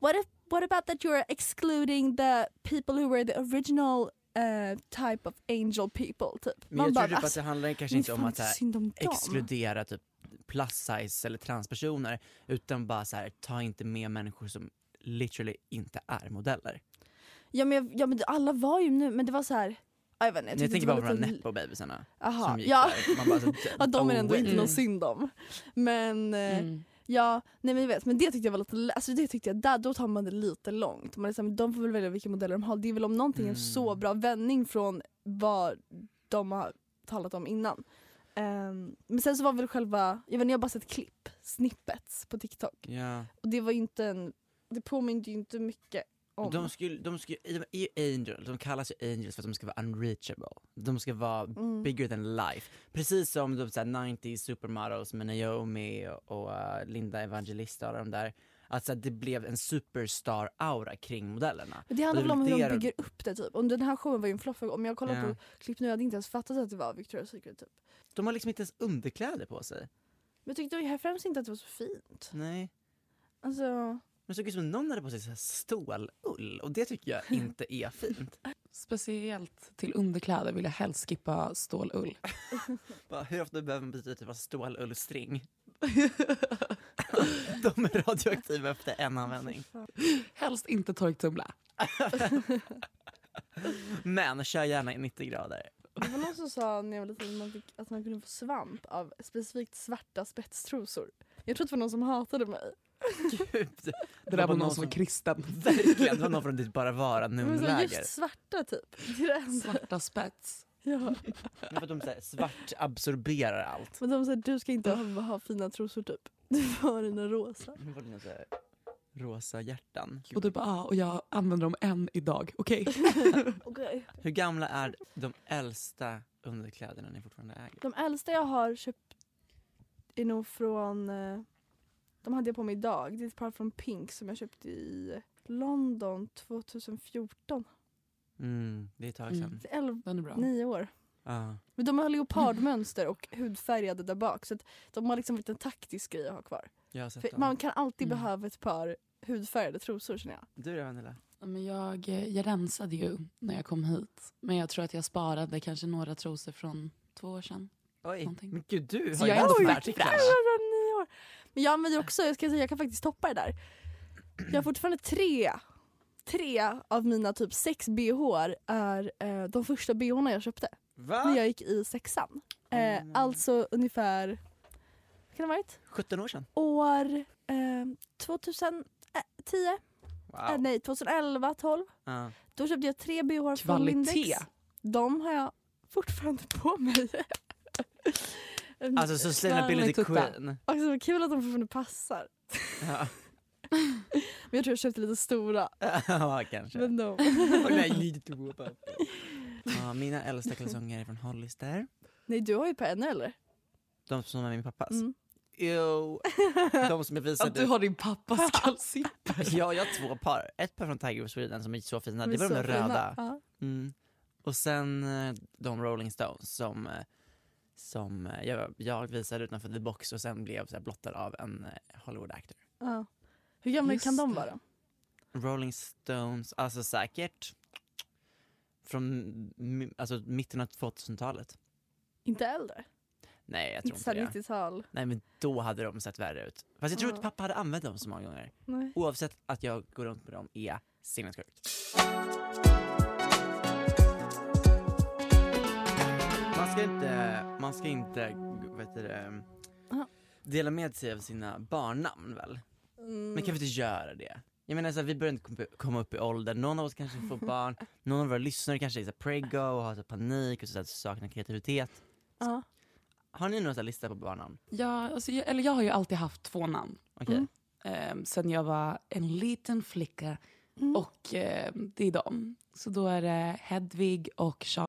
Speaker 2: What, if, what about that you're excluding the people who were the original eh, type of angel people? Typ.
Speaker 1: Men jag
Speaker 2: bara,
Speaker 1: tror typ att
Speaker 2: alltså,
Speaker 1: det handlar kanske
Speaker 2: men
Speaker 1: inte om
Speaker 2: fan,
Speaker 1: att så här,
Speaker 2: synd om dem.
Speaker 1: exkludera typ plus size eller transpersoner utan bara så här, ta inte med människor som literally inte är modeller.
Speaker 2: Ja men, jag, ja men alla var ju nu, men det var så här. ja, Jag, vet inte,
Speaker 1: Jag,
Speaker 2: tyckte
Speaker 1: tänker
Speaker 2: det
Speaker 1: bara
Speaker 2: var
Speaker 1: på de här
Speaker 2: lite-
Speaker 1: nepo-bebisarna
Speaker 2: Aha,
Speaker 1: som gick
Speaker 2: ja.
Speaker 1: där. Man bara, så,
Speaker 2: Ja, de är det ändå
Speaker 1: "Oh,
Speaker 2: inte
Speaker 3: Mm.
Speaker 2: någon synd om. Men eh,
Speaker 3: Mm.
Speaker 2: ja, nej men jag vet, men det tyckte jag var lite, alltså det tyckte jag, där då tar man det lite långt. Man är så här, men de får väl välja vilka modeller de har. Det är väl om någonting en så
Speaker 1: Mm.
Speaker 2: bra vändning från vad de har talat om innan. Ehm, men sen så var väl själva, jag vet inte, jag har bara sett klipp, snippets på TikTok.
Speaker 1: Ja.
Speaker 2: Och det var ju inte en, det påminner ju inte mycket om.
Speaker 1: De, skulle, de, skulle, de är ju angels, de kallas ju angels för att de ska vara unreachable. De ska vara
Speaker 2: Mm.
Speaker 1: bigger than life. Precis som de så här, 90s supermodels med Naomi och, och eh, Linda Evangelista och de där. Att så här, det blev en superstar-aura kring modellerna.
Speaker 2: Men det handlar väl om hur
Speaker 1: det
Speaker 2: de
Speaker 1: de-
Speaker 2: bygger upp det typ. Om den här showen var ju en flopp, om jag kollar
Speaker 1: Ja.
Speaker 2: på klipp nu hade jag inte ens fattat att det var Victoria's Secret typ.
Speaker 1: De har liksom inte ens underkläder på sig.
Speaker 2: Men jag tyckte ju här främst inte att det var så fint.
Speaker 1: Nej.
Speaker 2: Alltså,
Speaker 1: Men det såg ut som någon hade på sig så här stålull och det tycker jag inte är fint.
Speaker 3: Speciellt till underkläder vill jag helst skippa stålull.
Speaker 1: Bara, hur ofta behöver man byta ut typ av stålullstring? de är radioaktiva efter en användning.
Speaker 3: Helst inte torktumla.
Speaker 1: Men kör gärna i 90 grader.
Speaker 2: det var någon som sa när jag var liten att man, fick, att man kunde få svamp av specifikt svarta spetstrosor. Jag tror att det var någon som hatade mig.
Speaker 1: Gud.
Speaker 3: Det där var någon som var kristen.
Speaker 1: Verkligen, det var någon från ditt Bara
Speaker 2: Men så
Speaker 1: Vara-numläger.
Speaker 2: just svarta typ. Det är det enda.
Speaker 3: Svarta spets.
Speaker 2: Ja.
Speaker 1: Men för att de så här, svart absorberar allt.
Speaker 2: Men de sa du ska inte ha, ha fina trosor typ. Du får ha dina rosa.
Speaker 1: Nu var det någon så här, rosa hjärtan.
Speaker 3: Och du bara, ah, och jag använder dem än idag. Okej.
Speaker 2: Okay.
Speaker 1: Hur gamla är de äldsta underkläderna ni fortfarande äger?
Speaker 2: De äldsta jag har köpt är nog från... eh, De hade jag på mig idag. Det är ett par från Pink som jag köpte i London 2014.
Speaker 1: Mm, det är ett tag sedan.
Speaker 3: Mm.
Speaker 2: Det är elv-
Speaker 3: Den är bra.
Speaker 2: nio år.
Speaker 1: Ja.
Speaker 2: Men de har leopardmönster och hudfärgade där bak så att de har liksom blivit en taktisk grej att ha kvar.
Speaker 1: Jag har sett
Speaker 2: För
Speaker 1: dem.
Speaker 2: man kan alltid
Speaker 3: Mm.
Speaker 2: behöva ett par hudfärgade trosor känner jag.
Speaker 1: Du då Vanilla?
Speaker 3: Ja, Men jag, eh, jag rensade ju när jag kom hit. Men jag tror att jag sparade kanske några trosor från två år sedan.
Speaker 1: Oj,
Speaker 3: Någonting.
Speaker 1: men gud du
Speaker 3: Så
Speaker 1: har ju
Speaker 3: jag är
Speaker 1: ändå
Speaker 3: ändå
Speaker 1: färdigt
Speaker 3: fräsch.
Speaker 2: Äh,
Speaker 1: kanske.
Speaker 2: Från nio år. Men jag använder också, jag ska säga jag kan faktiskt toppa det där. Jag har fortfarande tre, tre av mina typ sex bhar är eh, de första bhna jag köpte när
Speaker 1: Va?
Speaker 2: jag gick i sexan. Eh, alltså ungefär, vad kan det ha varit?
Speaker 1: 17 år sedan?
Speaker 2: År eh, 2010,
Speaker 1: Wow.
Speaker 2: eh, nej 2011, 12.
Speaker 1: Ja.
Speaker 2: Då köpte jag tre bhar från
Speaker 3: Kvalitet. alltså
Speaker 2: Lindex. De har jag fortfarande på mig.
Speaker 1: Alltså sustainability
Speaker 3: Snälla, tutta.
Speaker 1: queen.
Speaker 2: Och så var det kul att de fortfarande passar.
Speaker 1: Ja,
Speaker 2: Men jag tror jag köpte lite stora.
Speaker 1: ja kanske.
Speaker 2: Men de.
Speaker 1: Och nej, need to whoop up. Ja, mina äldsta kalsonger är från Hollister.
Speaker 2: Nej du har ju på ännu eller?
Speaker 1: De som är min pappas.
Speaker 2: Mm.
Speaker 1: Jo, Alltså, de som jag
Speaker 3: Att
Speaker 1: visade.
Speaker 3: du har din pappas kalsipper.
Speaker 1: Ja, jag har två par. Ett par från Tiger of Sweden som är så fina.
Speaker 2: De
Speaker 1: Det
Speaker 2: är
Speaker 1: var
Speaker 2: så
Speaker 1: de där
Speaker 2: fina.
Speaker 1: röda.
Speaker 2: Ja.
Speaker 1: Mm. Och sen eh, de Rolling Stones som, eh, som eh, jag, jag visade utanför The Box och sen blev så här blottad av en eh, Hollywood actor.
Speaker 2: Ja. Hur gamla
Speaker 3: Just
Speaker 2: kan de
Speaker 3: det.
Speaker 2: vara?
Speaker 1: Rolling Stones, alltså säkert från mi- alltså, mitten av 2000-talet.
Speaker 2: Inte äldre.
Speaker 1: Nej, jag tror
Speaker 2: Inte
Speaker 1: inte
Speaker 2: såhär
Speaker 1: det.
Speaker 2: 90-tal.
Speaker 1: Nej, men då hade de sett värre ut. Fast jag tror
Speaker 2: Ja.
Speaker 1: att pappa hade använt dem så många gånger.
Speaker 2: Nej.
Speaker 1: Oavsett att jag går runt med dem är sinnessjukt. Man ska inte, man ska inte vet du, det,
Speaker 2: Ja.
Speaker 1: dela med sig av sina barnnamn väl?
Speaker 2: Mm.
Speaker 1: Men kan vi inte göra det? Jag menar så här, vi börjar inte komp- komma upp i åldern, någon av oss kanske får barn, någon av våra lyssnare kanske är så här preggo och har så här panik och så här, saknar kreativitet.
Speaker 2: Ja.
Speaker 1: Har ni någon så här lista på barnnamn?
Speaker 3: Ja, alltså, jag, eller jag har ju alltid haft två namn
Speaker 1: Okej.
Speaker 2: Mm.
Speaker 3: eh, sen jag var en liten flicka.
Speaker 2: Mm.
Speaker 3: Och eh, det är dem. Så då är det Hedvig och Charles.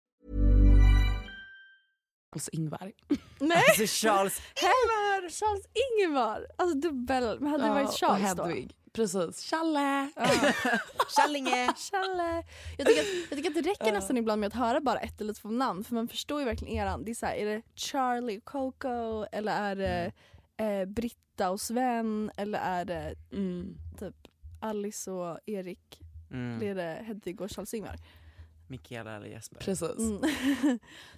Speaker 3: Ingvar.
Speaker 2: Nej!
Speaker 1: Alltså Charles
Speaker 2: Heller! Charles Ingemar! Alltså dubbel. Men hade det
Speaker 3: Ja,
Speaker 2: varit Charles
Speaker 3: och
Speaker 2: då?
Speaker 3: Hedvig. Precis. Challe!
Speaker 1: Kallinge!
Speaker 2: Challe. Jag tycker, att, jag tycker att det räcker nästan ibland med att höra bara ett eller två namn för man förstår ju verkligen eran. Det är, så här, är det Charlie och Coco eller är det eh, Britta och Sven eller är det
Speaker 3: Mm.
Speaker 2: Alice och Erik eller
Speaker 1: Mm.
Speaker 2: är det Hedvig och Charles Ingvar?
Speaker 1: Mikaela eller Jesper.
Speaker 3: Precis.
Speaker 2: Mm.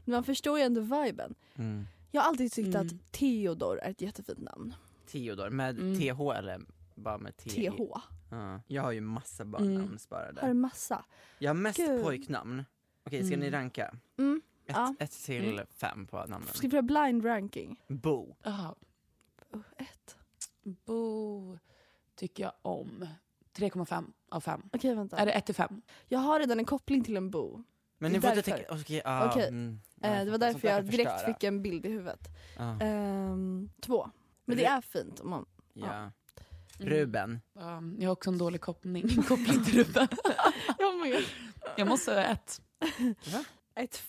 Speaker 2: Men man förstår ju ändå viben.
Speaker 1: Mm.
Speaker 2: Jag har alltid tyckt
Speaker 3: Mm.
Speaker 2: att Theodor är ett jättefint namn.
Speaker 1: Theodor, med
Speaker 3: Mm.
Speaker 1: TH eller bara med T?
Speaker 2: TH.
Speaker 1: Ja. Jag har ju massa barnnamn
Speaker 3: Mm.
Speaker 1: sparade.
Speaker 2: Har du massa?
Speaker 1: Jag har mest
Speaker 2: Gud.
Speaker 1: pojknamn. Okej, ska
Speaker 3: Mm.
Speaker 1: ni ranka?
Speaker 2: Mm.
Speaker 1: Ett,
Speaker 2: Ja. Mm.
Speaker 1: ett till fem på
Speaker 3: Mm.
Speaker 1: namnen.
Speaker 2: Ska vi göra blind ranking?
Speaker 1: Bo.
Speaker 3: Jaha.
Speaker 2: Oh, ett.
Speaker 3: Bo tycker jag om. 3,5 av 5.
Speaker 2: Okej vänta.
Speaker 3: Är det 1 till 5?
Speaker 2: Jag har redan en koppling till en bo.
Speaker 1: Men
Speaker 2: Det
Speaker 1: ni
Speaker 2: är
Speaker 1: får inte
Speaker 2: därför.
Speaker 1: tänka... Okej, ah,
Speaker 2: Okej.
Speaker 1: mm.
Speaker 2: Eh,
Speaker 1: Nej,
Speaker 2: det var
Speaker 1: sånt
Speaker 2: därför
Speaker 1: där
Speaker 2: jag
Speaker 1: kan
Speaker 2: direkt
Speaker 1: förstöra.
Speaker 2: fick en bild i huvudet.
Speaker 1: Ah,
Speaker 2: Ehm, två. Men det
Speaker 1: Re-
Speaker 2: är fint. Om man...
Speaker 1: ja. Mm.
Speaker 3: Mm.
Speaker 1: Ruben.
Speaker 3: Ja, jag har också en dålig koppling, koppling till Ruben.
Speaker 2: oh my God.
Speaker 3: jag måste säga 1.
Speaker 2: Ett,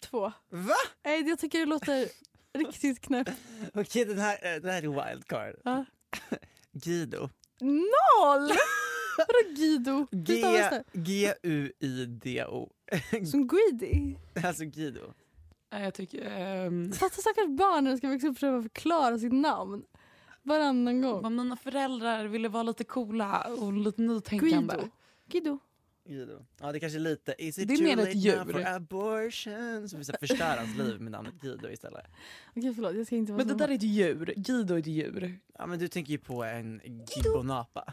Speaker 2: två.
Speaker 1: Va?
Speaker 2: Nej, jag tycker det låter riktigt knäppt.
Speaker 1: Okej, den här, eh, den här är wildcard.
Speaker 2: Ja.
Speaker 1: Guido.
Speaker 2: Noll! Vadå Guido? Hur stavas det?
Speaker 1: G-U-I-D-O.
Speaker 2: Som greedy.
Speaker 1: Alltså Guido.
Speaker 3: Jag tycker... ehm,
Speaker 2: Fatta stackars barn när de ska växa upp och försöka förklara sitt namn. Varannan gång.
Speaker 3: men mina föräldrar ville vara lite coola och lite nytänkande.
Speaker 2: Guido. Guido.
Speaker 1: Guido. Ja det kanske är lite, is it
Speaker 3: Det är
Speaker 1: too
Speaker 3: mer
Speaker 1: late
Speaker 3: ett
Speaker 1: now
Speaker 3: djur.
Speaker 1: for abortion? Så vi ska förstöra hans liv med namnet Guido istället.
Speaker 2: Okej förlåt, jag ska inte vara
Speaker 3: Men det
Speaker 2: så-
Speaker 3: där är ett djur. Guido är ett djur.
Speaker 1: Ja men du tänker ju på en gibbonapa.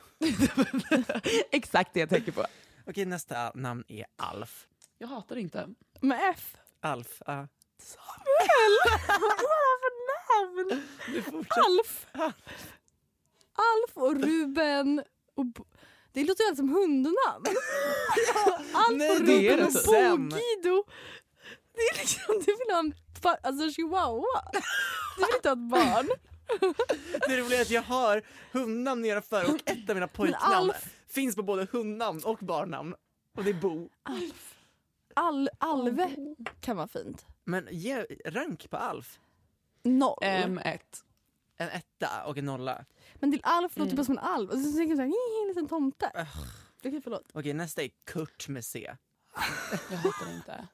Speaker 3: Exakt det jag tänker på.
Speaker 1: Okej nästa namn är Alf.
Speaker 3: Jag hatar inte.
Speaker 2: Med F.
Speaker 1: Alf, ja.
Speaker 2: Samuel! Vad är det för namn?
Speaker 1: Du fortsätter.
Speaker 2: Alf. Alf och Ruben och Bo- Det låter ju alltid som hundnamn. Alf
Speaker 1: nej,
Speaker 2: och
Speaker 1: det är
Speaker 2: Ruben
Speaker 1: det
Speaker 2: och
Speaker 1: inte. Sam.
Speaker 2: Bo-Guido. Det är liksom, du vill ha en fa- alltså, chihuahua. Du vill inte ha ett barn.
Speaker 1: Det roliga är att jag har hundnamn nedanför och ett av mina pojknamn
Speaker 2: Alf-
Speaker 1: finns på både hundnamn och barnnamn. Och det är Bo.
Speaker 2: Alf. Al- Alve kan vara fint.
Speaker 1: Men ge rank på Alf.
Speaker 2: Noll.
Speaker 3: Um, ett.
Speaker 1: En etta och en nolla.
Speaker 2: Men till Alf
Speaker 1: mm.
Speaker 2: låter bara som en alv. Och så tänker jag såhär, en liten tomte. Okej förlåt.
Speaker 1: Okej nästa är Kurt med C.
Speaker 3: Jag hatar inte.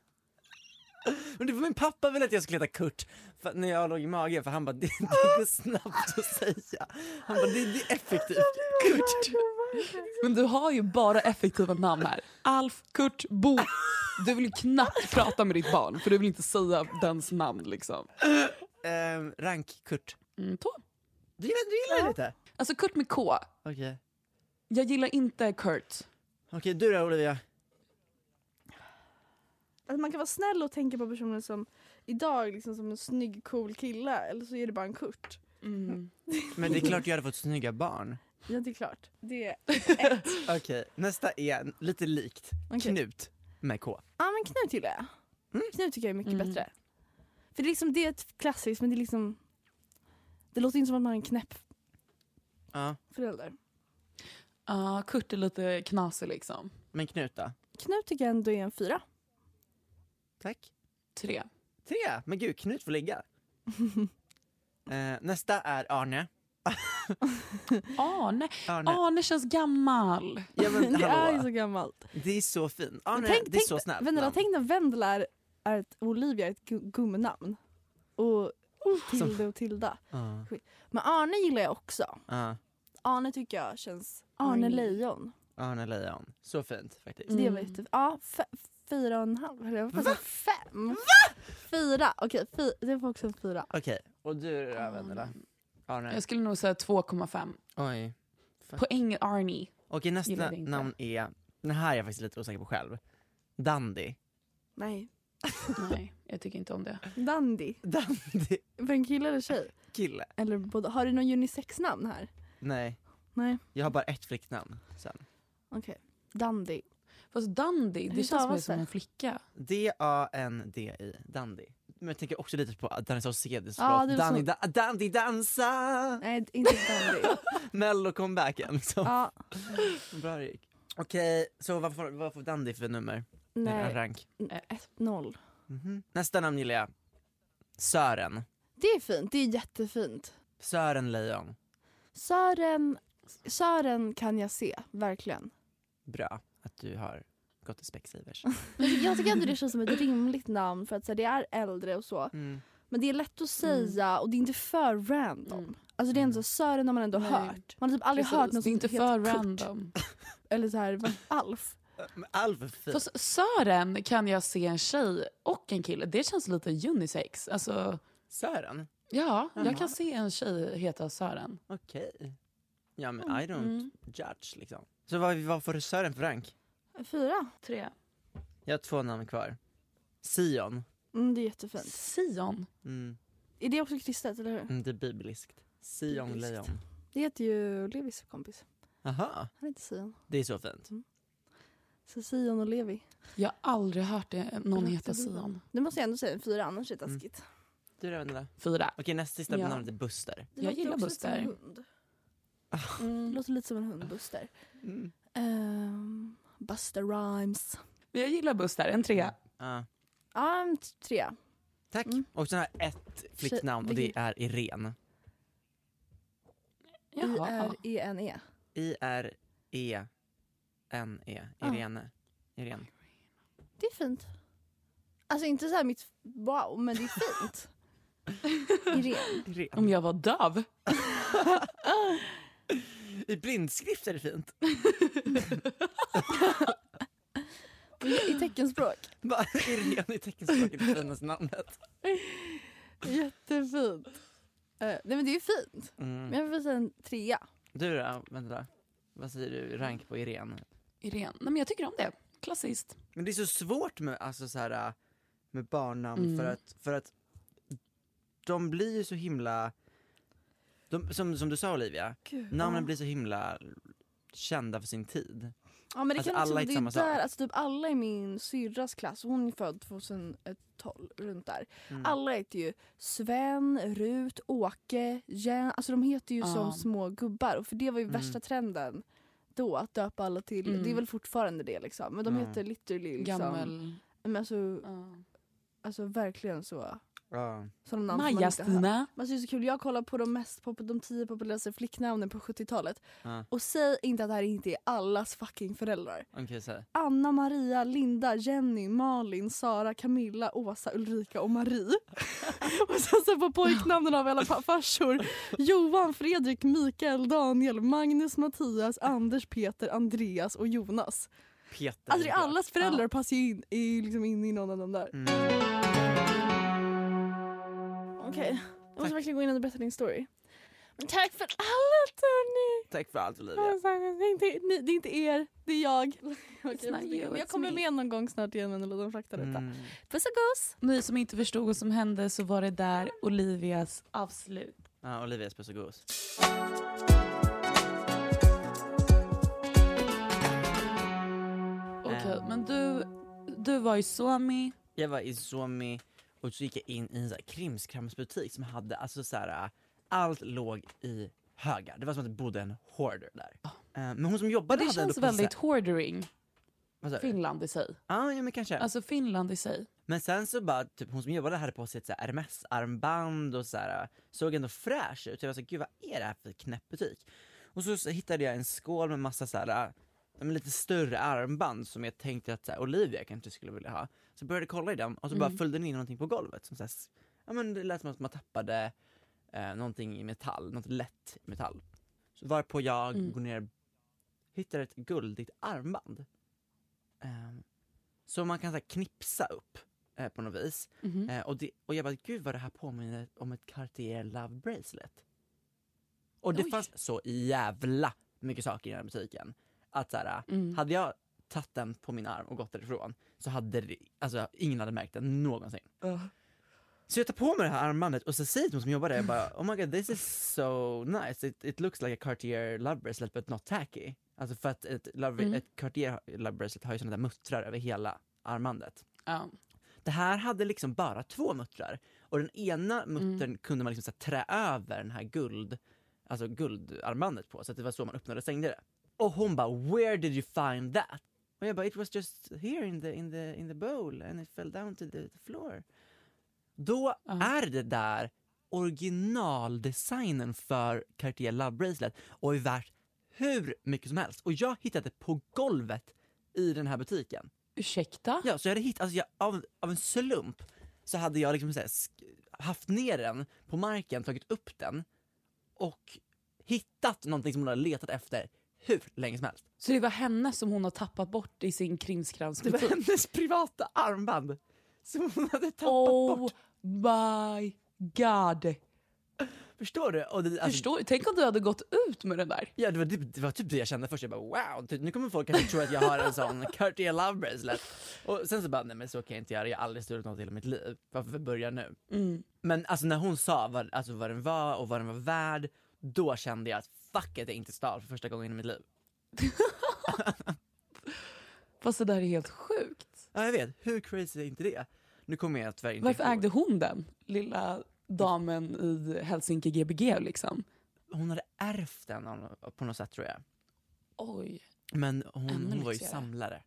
Speaker 1: Men det var min pappa ville att jag skulle heta Kurt för, när jag låg i magen för han bara, det, det går snabbt att säga. Han bara, det, det är effektivt. Kurt.
Speaker 3: Men du har ju bara effektiva namn här. Alf, Kurt, Bo. Du vill ju knappt prata med ditt barn för du vill inte säga dens namn. liksom.
Speaker 1: Ehm, rank Kurt.
Speaker 3: Mm, tå.
Speaker 1: Du gillar, du gillar det lite?
Speaker 3: Alltså Kurt med K.
Speaker 1: Okej.
Speaker 3: Jag gillar inte Kurt.
Speaker 1: Okej, du då Olivia?
Speaker 2: Att Alltså, man kan vara snäll och tänka på personen som idag liksom som en snygg cool kille eller så är det bara en Kurt.
Speaker 3: Mm.
Speaker 1: Men det är klart jag hade fått snygga barn.
Speaker 2: Ja det är klart. Det är
Speaker 1: Okej, nästa är lite likt.
Speaker 2: Okej.
Speaker 1: Knut med K.
Speaker 2: Ja men Knut gillar jag. Knut tycker jag är mycket
Speaker 3: Mm.
Speaker 2: bättre. För det är liksom det är ett klassiskt men det är liksom Det låter inte som att man har en knäpp
Speaker 1: Ja,
Speaker 2: förälder.
Speaker 3: Ja, Kurt är lite knasig liksom.
Speaker 1: men Knut då?
Speaker 2: Knut tycker jag ändå är en fyra.
Speaker 1: Tack.
Speaker 3: Tre.
Speaker 1: Tre! Men gud, Knut får ligga. Eh, nästa är Arne.
Speaker 3: Arne.
Speaker 1: Arne.
Speaker 3: Arne känns gammal.
Speaker 1: Ja, men,
Speaker 2: Ah. det är ju
Speaker 1: hallå.
Speaker 2: så gammalt.
Speaker 1: Det är så fint. Arne,
Speaker 2: Men tänk,
Speaker 1: Ah, det är
Speaker 2: tänk,
Speaker 1: så snällt.
Speaker 2: Vendela,
Speaker 1: namn.
Speaker 2: tänk när Vendela är, är ett, Olivia är ett gu- gummenamn. Och oh, Tilde och Tilda.
Speaker 1: Ja,
Speaker 2: Men Arne gillar jag också.
Speaker 1: ja.
Speaker 2: Arne tycker jag känns... Arne
Speaker 3: Mm.
Speaker 2: Lejon.
Speaker 1: Arne Lejon. Så fint faktiskt.
Speaker 2: Det var
Speaker 3: Mm.
Speaker 2: jätte... Ja, fe- fyra och en halv. Eller jag var på att säga fem. Fyra. Okej, fy, det var också en fyra.
Speaker 1: Okej, och du då Vendela? Arne.
Speaker 3: Jag skulle nog säga 2,5.
Speaker 1: Oj.
Speaker 3: Poäng Arnie.
Speaker 1: Okej, nästa
Speaker 3: Gillar det inte.
Speaker 1: namn är... Den här är jag faktiskt lite osäker på själv. Dandy.
Speaker 2: Nej.
Speaker 3: Nej, jag tycker inte om det.
Speaker 2: Dandy.
Speaker 1: Dandy.
Speaker 2: För en kille eller tjej?
Speaker 1: Kille.
Speaker 2: Eller både. Har du någon unisex-namn här?
Speaker 1: Nej,
Speaker 2: Nej.
Speaker 1: jag har bara ett flicknamn sen.
Speaker 2: Okej. Dandy.
Speaker 3: Fast Dandy,
Speaker 2: Hur
Speaker 3: det känns
Speaker 2: stavas
Speaker 3: mer som
Speaker 2: det?
Speaker 3: en flicka.
Speaker 1: D-A-N-D-I, Dandy. Men jag tänker också lite på att Danny Saucedos
Speaker 3: Ah,
Speaker 2: Ja, det
Speaker 1: låt
Speaker 2: är så-
Speaker 1: Danny, da, Dandy dansa!
Speaker 2: Nej, inte Dandy.
Speaker 1: Mello-comebacken liksom.
Speaker 3: Ah.
Speaker 2: ja,
Speaker 1: Bra det gick. Okej, så vad får, vad får Dandy för nummer? Nej.
Speaker 2: nej.
Speaker 1: Rank.
Speaker 2: Ett, noll.
Speaker 1: Mhm. Nästa namn gillar jag. Sören.
Speaker 2: Det är fint, det är jättefint.
Speaker 1: Sören Lejon.
Speaker 2: Sören, Sören kan jag se, verkligen.
Speaker 1: Bra att du har gått i Specsavers.
Speaker 2: Jag tycker ändå det känns som ett rimligt namn för att så här, det är äldre och så.
Speaker 1: Mm.
Speaker 2: Men det är lätt att säga och det är inte för random.
Speaker 3: Mm.
Speaker 2: Alltså det är ändå så, Sören har man ändå
Speaker 3: Nej.
Speaker 2: hört. Man har typ aldrig hört någon
Speaker 3: det är inte
Speaker 2: som
Speaker 3: för
Speaker 2: heter Kurt.
Speaker 3: random.
Speaker 2: Eller så här, vad- Alf.
Speaker 1: Men Alf är fin.
Speaker 3: Fast Sören kan jag se en tjej och en kille. Det känns lite unisex. Alltså,
Speaker 1: Sören?
Speaker 3: ja, jag
Speaker 1: Jaha.
Speaker 3: kan se en tjej heta Sören.
Speaker 1: Okej. Ja men I don't
Speaker 3: Mm.
Speaker 1: judge liksom. Så vad, vad får Sören för rank?
Speaker 2: Fyra.
Speaker 3: Tre.
Speaker 1: Jag har två namn kvar. Sion.
Speaker 2: Mm, det är jättefint.
Speaker 3: Sion.
Speaker 1: Mm,
Speaker 2: Är det också kristet, eller hur?
Speaker 1: mm, det är bibliskt. Sion
Speaker 2: Bibliskt.
Speaker 1: Lejon.
Speaker 2: Det heter ju Levis kompis.
Speaker 1: Aha,
Speaker 2: Han heter Sion.
Speaker 1: det är så fint.
Speaker 2: Så Sion och Levi.
Speaker 3: Jag har aldrig hört det, någon
Speaker 2: Bra
Speaker 3: heta
Speaker 2: till Bibeln.
Speaker 3: Sion.
Speaker 2: Nu måste jag ändå säga en fyra, annars är det taskigt.
Speaker 1: Du då Vendela?
Speaker 3: Fyra.
Speaker 1: Okej nästa sista
Speaker 3: Ja.
Speaker 1: namnet är Buster.
Speaker 2: Det
Speaker 3: Jag
Speaker 2: låter
Speaker 3: gillar
Speaker 2: också lite som en
Speaker 3: Buster.
Speaker 2: hund. Det
Speaker 3: Mm.
Speaker 2: låter lite som en hund, Buster. Ehm, Buster Rhymes.
Speaker 3: Men Jag gillar Buster, en trea.
Speaker 1: Ja,
Speaker 2: Ja, en t- trea.
Speaker 1: tack.
Speaker 2: Mm.
Speaker 1: Och sen har jag ett flicknamn och det
Speaker 2: vilken-
Speaker 1: är Irene.
Speaker 2: eh,
Speaker 3: Jaha.
Speaker 2: I-R-E-N-E.
Speaker 1: I-R-E-N-E.
Speaker 2: Ja.
Speaker 1: E Irene. Irene.
Speaker 2: Det är fint. Alltså inte så här mitt wow, men det är fint. Irene.
Speaker 1: Irene.
Speaker 3: Om jag var döv.
Speaker 1: I blindskrift är det fint.
Speaker 2: I teckenspråk.
Speaker 1: Bara Irene i teckenspråket är det finaste namnet.
Speaker 2: Jättefint. Eh, nej men det är ju fint.
Speaker 1: Mm.
Speaker 2: Men jag får säga en trea.
Speaker 1: Du då, Vendela? Vad säger du, rank på Irene?
Speaker 3: Irene. Nej, men jag tycker om det. Klassiskt.
Speaker 1: Men det är så svårt med, alltså, så här, äh, med barnnamn
Speaker 3: Mm.
Speaker 1: för, att, för att de blir ju så himla, de, som, som du sa Olivia,
Speaker 2: Gud,
Speaker 1: namnen
Speaker 2: ja.
Speaker 1: blir så himla kända för sin tid.
Speaker 2: Ja men det
Speaker 1: Alltså,
Speaker 2: kan också,
Speaker 1: alla
Speaker 2: alla
Speaker 1: är
Speaker 2: det
Speaker 1: samma
Speaker 2: är
Speaker 1: sak.
Speaker 2: där, alltså typ alla i min syrras klass, hon är född 2012, runt där.
Speaker 1: Mm.
Speaker 2: Alla heter ju Sven, Rut, Åke, Jen, alltså de heter ju
Speaker 3: Ja.
Speaker 2: som små gubbar och för det var ju
Speaker 1: Mm.
Speaker 2: värsta trenden då att döpa alla till,
Speaker 3: Mm.
Speaker 2: det är väl fortfarande det liksom, men de
Speaker 1: Mm.
Speaker 2: heter literally liksom,
Speaker 3: Gammal.
Speaker 2: men alltså,
Speaker 3: ja.
Speaker 2: alltså verkligen så
Speaker 1: Ja.
Speaker 2: Sådana namn som man inte hör.
Speaker 3: Maja-Stina.
Speaker 2: Men alltså, det är så kul, jag kollar på de, mest pop- de tio populäraste flicknamnen på 70-talet.
Speaker 1: Ja.
Speaker 2: Och säg inte att det här inte är allas fucking föräldrar.
Speaker 1: Okej, så här.
Speaker 2: Anna, Maria, Linda, Jenny, Malin, Sara, Camilla, Åsa, Ulrika och Marie. och sen så på pojknamnen av alla pa- farsor. Johan, Fredrik, Mikael, Daniel, Magnus, Mattias, Anders, Peter, Andreas och Jonas.
Speaker 1: Peter.
Speaker 2: Alltså det är
Speaker 1: såklart.
Speaker 2: allas föräldrar passar ju in, är ju liksom in i någon av de där.
Speaker 1: Mm.
Speaker 2: Okej, jag måste verkligen gå in och berätta din story. Men tack för allt hörni!
Speaker 1: Tack för allt Olivia.
Speaker 2: Alltså, Det är, inte, ni, det är inte er, det är jag.
Speaker 3: It's not you,
Speaker 2: jag
Speaker 3: it's
Speaker 2: kommer
Speaker 3: me.
Speaker 2: med någon gång snart igen med en liten faktaruta.
Speaker 1: Mm.
Speaker 2: Puss och guss!
Speaker 3: Ni som inte förstod vad som hände så var det där Olivias avslut.
Speaker 1: Ja, Olivias puss och gos.
Speaker 3: Okej,
Speaker 1: Ehm.
Speaker 3: men du, du var i Suomi.
Speaker 1: Jag var i Suomi och så gick jag in i en så här krimskramsbutik som hade, alltså så här, äh, allt låg i högar. Det var som att det bodde en hoarder där. Eh, Men hon som
Speaker 3: Men
Speaker 1: jobbade
Speaker 3: Ah. det
Speaker 1: hade ändå
Speaker 3: känns väldigt
Speaker 1: konsert-
Speaker 3: hoardering,
Speaker 1: Vad sa du?
Speaker 3: Finland i sig.
Speaker 1: Ja, ja men kanske.
Speaker 3: Alltså Finland i sig.
Speaker 1: Men sen så bara, typ hon som jobbade hade på sig ett så här RMS-armband och så här, såg ändå fräsch ut. Jag var såhär, gud vad är det här för knäpp butik? Och så, så hittade jag en skål med massa så här, ja, men lite större armband som jag tänkte att så här, Olivia kanske skulle vilja ha. Så började jag kolla i dem och så bara
Speaker 3: Mm.
Speaker 1: följde den in någonting på golvet. Som så här, s- ja, men det lät som att man tappade eh, någonting i metall, något lätt i metall. Så varpå jag
Speaker 3: Mm.
Speaker 1: går ner hittar ett guldigt armband. Ehm, som man kan så här, knipsa upp eh, på något vis.
Speaker 3: Mhm.
Speaker 1: Eh, och, det, och jag bara, gud vad det här påminner om ett Cartier Love Bracelet. Och det
Speaker 3: Oj.
Speaker 1: fanns så jävla mycket saker i den här butiken. Att så här,
Speaker 3: Mm.
Speaker 1: hade jag tagit den på min arm och gått därifrån så hade det, alltså, ingen hade märkt den någonsin. Så jag tar på mig det här armbandet och så säger till hon som jobbar där, jag bara oh my god this is so nice, it, it looks like a Cartier Love Bracelet but not tacky. Alltså för att ett, love,
Speaker 3: Mm.
Speaker 1: ett Cartier Love Bracelet har ju sådana där muttrar över hela armbandet.
Speaker 3: Ja.
Speaker 1: Det här hade liksom bara två muttrar. Och den ena muttern kunde man liksom så här trä över den här guld, alltså guldarmbandet på. Så att det var så man öppnade och stängde det. Och hon bara “Where did you find that?” Och jag bara “It was just here in the, in the, in the bowl and it fell down to the, the floor”. Då
Speaker 3: Ja.
Speaker 1: är det där originaldesignen för Cartier Love Bracelet och är värt hur mycket som helst. Och jag hittade på golvet i den här butiken.
Speaker 3: Ursäkta?
Speaker 1: Ja, så jag hade hittat, alltså jag, av, av en slump så hade jag liksom så här, sk- haft ner den på marken, tagit upp den och hittat någonting som hon hade letat efter hur länge som helst.
Speaker 3: Så det var henne som hon har tappat bort i sin
Speaker 1: Det var
Speaker 3: krimskramsbutik?
Speaker 1: hennes privata armband som hon hade tappat
Speaker 3: Oh
Speaker 1: bort. Alltså-
Speaker 3: my god!
Speaker 1: Förstår du? Och det, alltså,
Speaker 3: Förstår, tänk om du hade gått ut med den där.
Speaker 1: Ja, det, var, det, det var typ det jag kände först. Jag bara wow, typ, nu kommer folk kanske tro att jag har en sån Cartier Love Bracelet. Och sen så bara, nej men så kan jag inte göra, jag har aldrig stulit något i hela mitt liv. Varför börja nu?
Speaker 3: Mm.
Speaker 1: Men alltså när hon sa vad, alltså vad den var och vad den var värd, då kände jag att fuck it, jag inte stal för första gången i mitt liv.
Speaker 3: Fast det där är helt sjukt.
Speaker 1: Ja, jag vet. Hur crazy är inte det? Nu kommer jag tyvärr inte
Speaker 3: Varför
Speaker 1: ihåg.
Speaker 3: ägde hon den? Lilla damen i Helsinki Gbg liksom.
Speaker 1: Hon hade ärvt den av- på något sätt tror jag.
Speaker 3: Oj.
Speaker 1: Men hon,
Speaker 3: Ännu
Speaker 1: hon var ju
Speaker 3: lyxigare.
Speaker 1: samlare.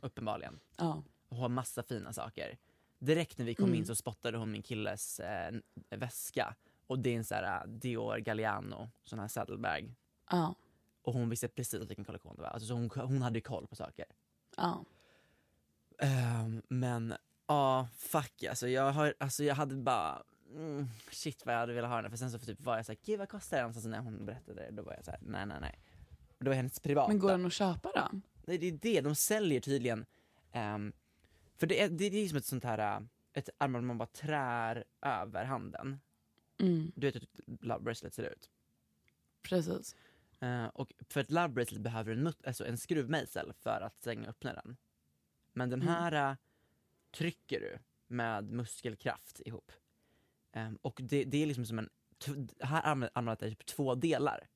Speaker 1: Uppenbarligen.
Speaker 3: Ja.
Speaker 1: Och har massa fina saker. Direkt när vi kom
Speaker 3: Mm.
Speaker 1: in så spottade hon min killes eh, n- väska. Och det är en sån här eh, Dior Galliano, sån här saddlebag.
Speaker 3: Ja.
Speaker 1: Och hon visste precis vilken kollektion det var. Alltså, så hon, hon hade ju koll på saker.
Speaker 3: Ja.
Speaker 1: Ehm, men ja, fuck alltså. Jag, har, alltså, jag hade bara, mm, shit vad jag hade velat ha den här. För sen så typ var jag såhär, gud vad kostar den? Sen så när hon berättade det, då var jag såhär, nej nej nej. Och det var hennes privata.
Speaker 3: Men går den att köpa då?
Speaker 1: Nej det är det, de säljer tydligen. ehm, för det är, det är som ett sånt här, äh, ett armband man bara trär över handen.
Speaker 3: Mm,
Speaker 1: Du vet hur ett love bracelet ser ut.
Speaker 3: precis.
Speaker 1: Eh, och för ett love bracelet behöver du en, mut- alltså en skruvmejsel för att stänga och öppna den. Men den
Speaker 3: Mm.
Speaker 1: här eh, trycker du med muskelkraft ihop. Ehm, och det, det är liksom som en... T- här anvä- använder jag typ två delar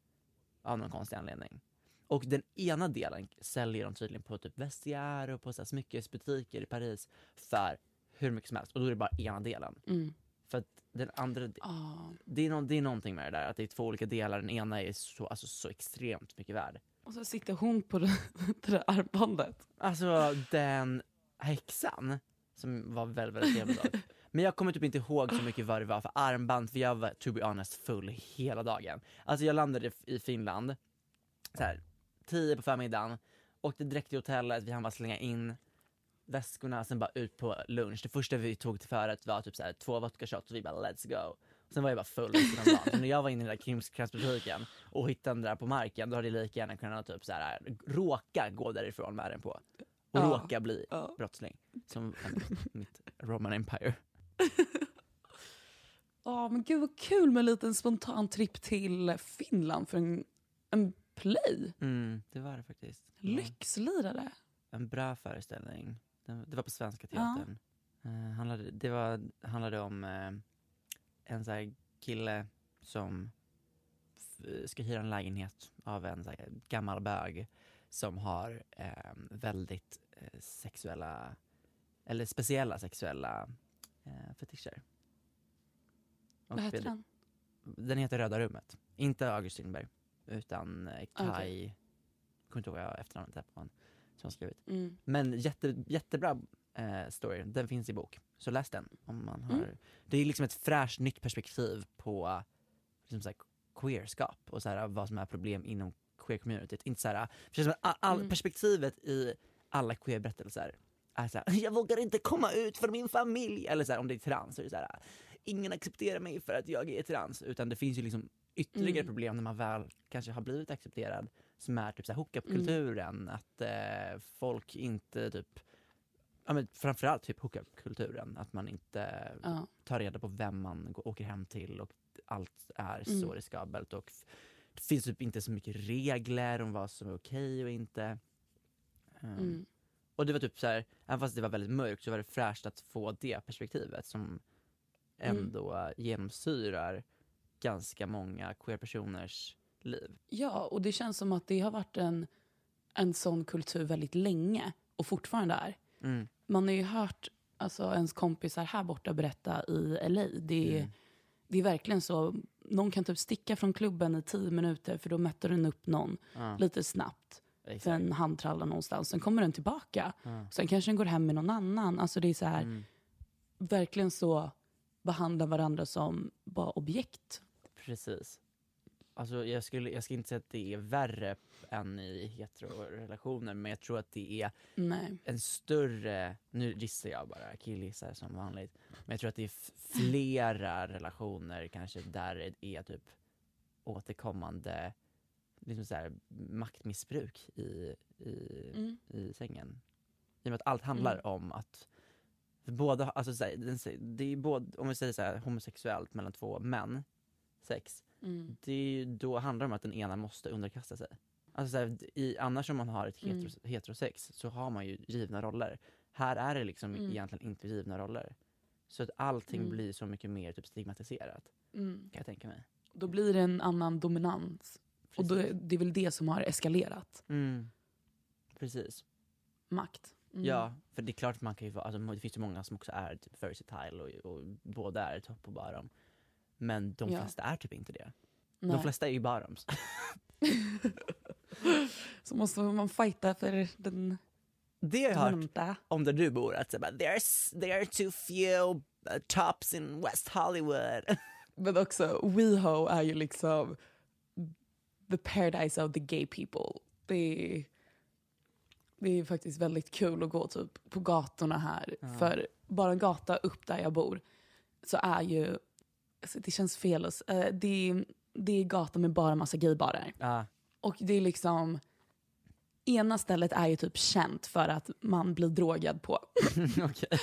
Speaker 1: av någon konstig anledning. Och den ena delen säljer de tydligen på typ vestiaire och på så här smyckesbutiker i Paris för hur mycket som helst. Och då är det bara ena delen.
Speaker 3: Mm.
Speaker 1: För att den andra de-
Speaker 3: Ah.
Speaker 1: det är, nå det är någonting med det där, att det är två olika delar. Den ena är så, alltså, så extremt mycket värd.
Speaker 3: Och så sitter hon på det det där armbandet.
Speaker 1: Alltså den häxan, som var väldigt, väldigt trevlig dag. Men jag kommer typ inte ihåg så mycket vad det var för armband för jag var to be honest full hela dagen. Alltså jag landade f- i Finland, så här, 10 på förmiddagen, åkte direkt till hotellet, vi hann bara slänga in väskorna, sen bara ut på lunch. Det första vi tog till förrätt var typ så här, två vodka shots och vi bara let's go. Sen var jag bara full resten av dagen. Så när jag var inne i den där krimskramsbutiken och hittade den där på marken, då hade jag lika gärna kunnat typ så här, råka gå därifrån med den på. Och
Speaker 3: Ja.
Speaker 1: råka bli
Speaker 3: Ja.
Speaker 1: brottsling. Som en- mitt Roman Empire.
Speaker 3: Ja, men gud vad kul med en liten spontan tripp till Finland för en, en play.
Speaker 1: Mm, det var det faktiskt. Det var
Speaker 3: Lyxlirare.
Speaker 1: En bra föreställning. Den- Det var på Svenska Teatern. Eh, handlade, det var, handlade om eh, en så här kille som f- ska hyra en lägenhet av en så här gammal bög som har eh, väldigt eh, sexuella, eller speciella sexuella eh, fetischer. Och
Speaker 3: Vad heter
Speaker 1: väldigt-
Speaker 3: den?
Speaker 1: Den heter Röda rummet. Inte August Strindberg, utan eh, Kai...
Speaker 3: Okej.
Speaker 1: Jag kommer inte ihåg vad efternamnet är på honom som har skrivit.
Speaker 3: Mm.
Speaker 1: Men jätte, jättebra eh, story. Den finns i bok. Så läs den. Om man
Speaker 3: Mm.
Speaker 1: har... Det är liksom ett fräscht nytt perspektiv på liksom så här, queerskap och så här, vad som är problem inom queer-communityt. Inte så här, för det känns som att all, all,
Speaker 3: Mm.
Speaker 1: Perspektivet i alla queer-berättelser är så här, jag vågar inte komma ut för min familj. Eller så här, om det är trans så är det så här, ingen accepterar mig för att jag är trans. Utan det finns ju liksom ytterligare
Speaker 3: Mm.
Speaker 1: problem när man väl kanske har blivit accepterad som är typ så här
Speaker 3: Mm.
Speaker 1: hookup-kulturen. Att eh, folk inte typ, ja men framförallt typ hookup-kulturen. Att man inte
Speaker 3: Ja.
Speaker 1: tar reda på vem man går, åker hem till och allt är
Speaker 3: Mm.
Speaker 1: så riskabelt och f- det finns typ inte så mycket regler om vad som är okej och inte. Ehm,
Speaker 3: Mm.
Speaker 1: Och det var typ så här, även fast det var väldigt mörkt så var det fräscht att få det perspektivet som
Speaker 3: Mm.
Speaker 1: ändå genomsyrar ganska många queer-personers liv.
Speaker 3: ja, och det känns som att det har varit en, en sån kultur väldigt länge och fortfarande är.
Speaker 1: Mm.
Speaker 3: Man har ju hört alltså, ens kompisar här borta berätta i LA. Det är,
Speaker 1: Mm.
Speaker 3: det är verkligen så. Någon kan typ sticka från klubben i tio minuter för då möter den upp någon
Speaker 1: Ja,
Speaker 3: lite snabbt. för
Speaker 1: exakt. Mm.
Speaker 3: en handtralla någonstans. Sen kommer den tillbaka. Sen kanske den går hem med någon annan. Alltså det är så här, verkligen så behandla varandra som bara objekt.
Speaker 1: Precis. Alltså jag, skulle, jag ska inte säga att det är värre än i heterorelationer men jag tror att det är
Speaker 3: Nej.
Speaker 1: en större, nu gissar jag bara, killgissar som vanligt, men jag tror att det är f- flera relationer kanske där det är typ återkommande liksom så här, maktmissbruk i, i,
Speaker 3: Mm.
Speaker 1: i sängen. I och med att allt handlar om att båda, alltså så här, den se- det är både, om vi säger så här, homosexuellt mellan två män, sex,
Speaker 3: Mm.
Speaker 1: det är ju då handlar det om att den ena måste underkasta sig. Alltså så här, i, annars om man har ett
Speaker 3: Mm.
Speaker 1: heteros- heterosex så har man ju givna roller. Här är det liksom
Speaker 3: Mm.
Speaker 1: egentligen inte givna roller. Så att allting
Speaker 3: Mm.
Speaker 1: blir så mycket mer typ stigmatiserat,
Speaker 3: Mm.
Speaker 1: kan jag tänka mig.
Speaker 3: Då blir det en annan dominans. Och då,
Speaker 1: Precis.
Speaker 3: det är väl det som har eskalerat
Speaker 1: Mm. Precis.
Speaker 3: makt. Mm.
Speaker 1: Ja, för det är klart att man kan ju vara, alltså, det finns ju många som också är typ versatile och, och båda är topp och bottom. Men de
Speaker 3: Ja.
Speaker 1: flesta är typ inte det.
Speaker 3: Nej.
Speaker 1: De flesta är ju bottoms.
Speaker 3: Så måste man fighta för den
Speaker 1: Det har jag hört
Speaker 3: vanta.
Speaker 1: om där du bor att så bara, there's, there are too few uh, tops in West Hollywood.
Speaker 3: Men också, WeHo är ju liksom the paradise of the gay people. Det är, det är faktiskt väldigt kul att gå typ på gatorna här. För bara en gata upp där jag bor så är ju... Alltså det känns fel att s- eh, det, är- det är gator med bara massa gaybarer.
Speaker 1: Ja,
Speaker 3: Och det är liksom... Ena stället är ju typ känt för att man blir drogad på.
Speaker 1: okej.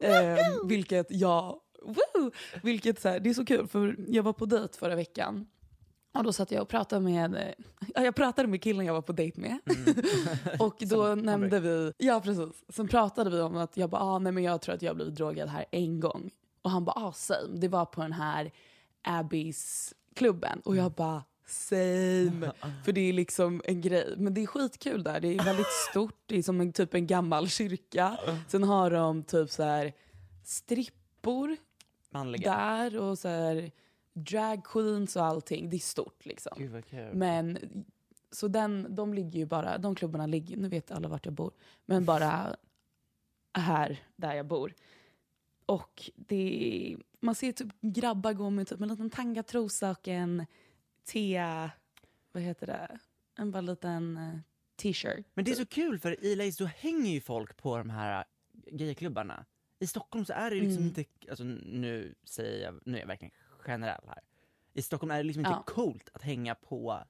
Speaker 3: Eh, vilket jag... Woo! Vilket så här, det är så kul, för jag var på dejt förra veckan. Och då satt jag och pratade med, eh, ja, jag pratade med killen jag var på dejt med. och då nämnde vi, ja precis. Sen pratade vi om att jag bara, ah, nej men jag tror att jag har blivit drogad här en gång. Och han bara, ah same. Det var på den här Abbeys klubben. Och jag bara, same. För det är liksom en grej. Men det är skitkul där. Det är väldigt stort. Det är som en, typ en gammal kyrka. Sen har de typ så här strippor
Speaker 1: Manliga.
Speaker 3: där och så här drag queens och allting. Det är stort liksom.
Speaker 1: Gud vad kul.
Speaker 3: Men så den, de ligger ju bara, de klubbarna ligger, nu vet alla vart jag bor, men bara här där jag bor. Och det, man ser typ grabbar gå med typ en liten tangatrosa och en te... Vad heter det? En bara liten eh, t-shirt.
Speaker 1: Men det är så kul för i Lace då hänger ju folk på de här äh, gayklubbarna. I Stockholm så är det ju liksom
Speaker 3: Mm.
Speaker 1: inte, alltså nu säger jag, nu är jag verkligen generell här. I Stockholm är det liksom inte
Speaker 3: Ja.
Speaker 1: coolt att hänga på,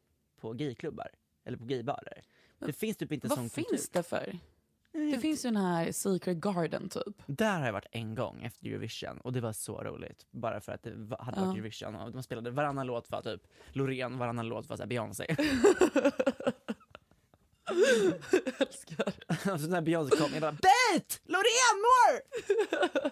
Speaker 1: på gayklubbar. Eller på gaybarer.
Speaker 3: Men
Speaker 1: det finns typ inte sån
Speaker 3: Vad
Speaker 1: kultur.
Speaker 3: finns det för? Det finns ju den här Secret Garden typ.
Speaker 1: Där har jag varit en gång efter Eurovision och det var så roligt. Bara för att det va- hade varit
Speaker 3: Ja.
Speaker 1: Eurovision och de spelade varannan låt var typ Loreen, varannan låt var så här Beyoncé.
Speaker 3: Älskar.
Speaker 1: alltså när Beyoncé kom, jag bara BIT! Loreen more!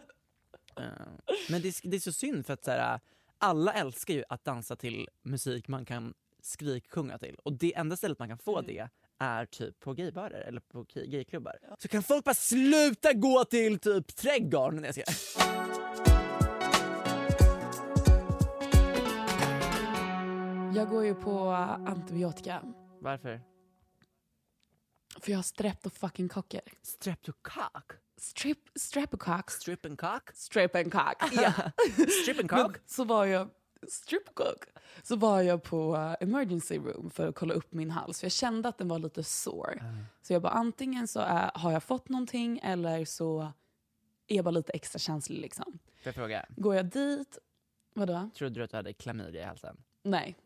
Speaker 1: Eh, Men det är, det är så synd för att så här, alla älskar ju att dansa till musik man kan skriksjunga till och det enda stället man kan få
Speaker 3: Mm.
Speaker 1: det är typ på gaybarer eller på gay- gayklubbar. Så kan folk bara sluta gå till typ trädgården? Nej, jag skojar.
Speaker 3: Jag går ju på antibiotika.
Speaker 1: Varför?
Speaker 3: För jag har streptofuckingkocker.
Speaker 1: Streptocock?
Speaker 3: Strep, streptocock.
Speaker 1: Strippencock?
Speaker 3: Streptocock. Ja.
Speaker 1: Strippencock?
Speaker 3: Men så var jag stripcock. Så var jag på eh, emergency room för att kolla upp min hals. För jag kände att den var lite sår. Så jag bara antingen så är, har jag fått någonting eller så är jag bara lite extra känslig liksom.
Speaker 1: Får jag fråga,
Speaker 3: Går jag dit, vadå?
Speaker 1: trodde du att du hade klamydia i halsen?
Speaker 3: Nej.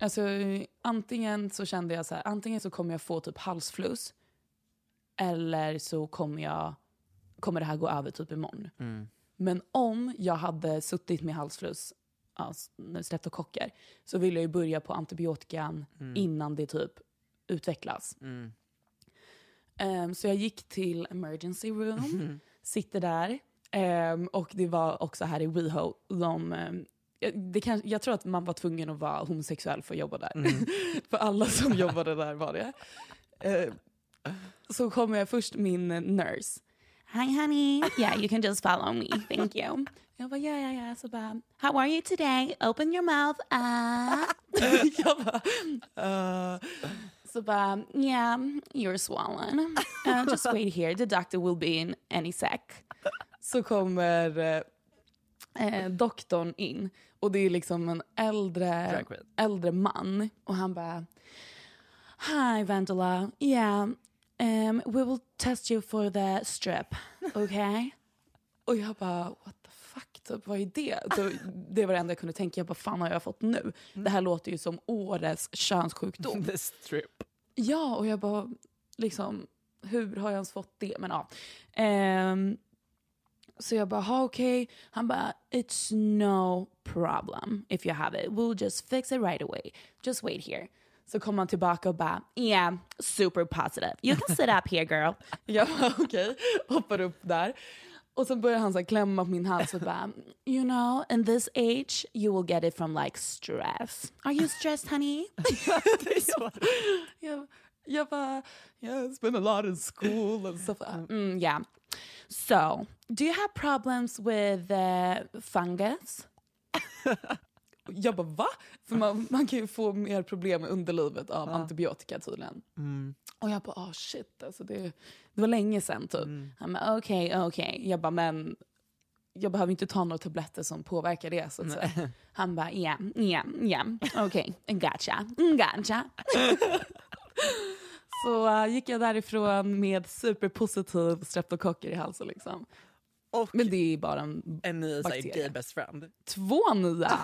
Speaker 3: Alltså antingen så kände jag så här, antingen så kommer jag få typ halsfluss eller så kommer jag kommer det här gå över typ imorgon. Men om jag hade suttit med halsfluss, alltså, streptokocker, så ville jag ju börja på antibiotikan innan det typ utvecklas. Ehm, så jag gick till emergency room, sitter där ehm, och det var också här i WeHo, de ehm, jag- det kan, jag tror att man var tvungen att vara homosexuell för att jobba där. för alla som jobbade där var det. Eh, så kommer jag först min eh, nurse. Hi honey, yeah you can just follow me, thank you. Jag bara ja ja ja, så bara how are you today? Open your mouth. ah." jag bara, "Uh." så bara yeah you're swollen. Uh, just wait here, the doctor will be in any sec. Så kommer eh, eh, doktorn in och det är liksom en äldre,
Speaker 1: Drag queen.
Speaker 3: äldre man och han bara Hi Vandela, yeah um, we will test you for the strip, okay? och jag bara what the fuck, typ, vad är det? Då, det var det enda jag kunde tänka, jag bara fan har jag fått nu? Det här låter ju som årets könssjukdom.
Speaker 1: The strip.
Speaker 3: Ja, och jag bara, liksom, hur har jag ens fått det? Men ja. Ehm, så jag bara, ha okej. Han bara, it's no problem if you have it. We'll just fix it right away. Just wait here. Så kom han tillbaka och bara, yeah, super positive. You can sit up here girl. Jag bara, okej. Hoppar upp där. Och så börjar han så här klämma på min hals och bara, you know, in this age you will get it from like stress. Are you stressed honey? jag, jag bara, yeah, I spent a lot in school and stuff. Mm, yeah. So, do you have problems with uh, fungus? jag bara, va? För man, man kan ju få mer problem med underlivet av antibiotika tydligen. Och jag bara, oh shit, alltså det, det var länge sedan typ. Han bara, okej, okej. Jag bara, men jag behöver inte ta några tabletter som påverkar det. Så att säga. Han bara, yeah, yeah, yeah, okej, gotcha, gotcha. Så eh, gick jag därifrån med superpositiv streptokocker i halsen. Liksom.
Speaker 1: Och
Speaker 3: Men det är bara en,
Speaker 1: en ny så här,
Speaker 3: bakterie.
Speaker 1: gay best friend.
Speaker 3: två nya.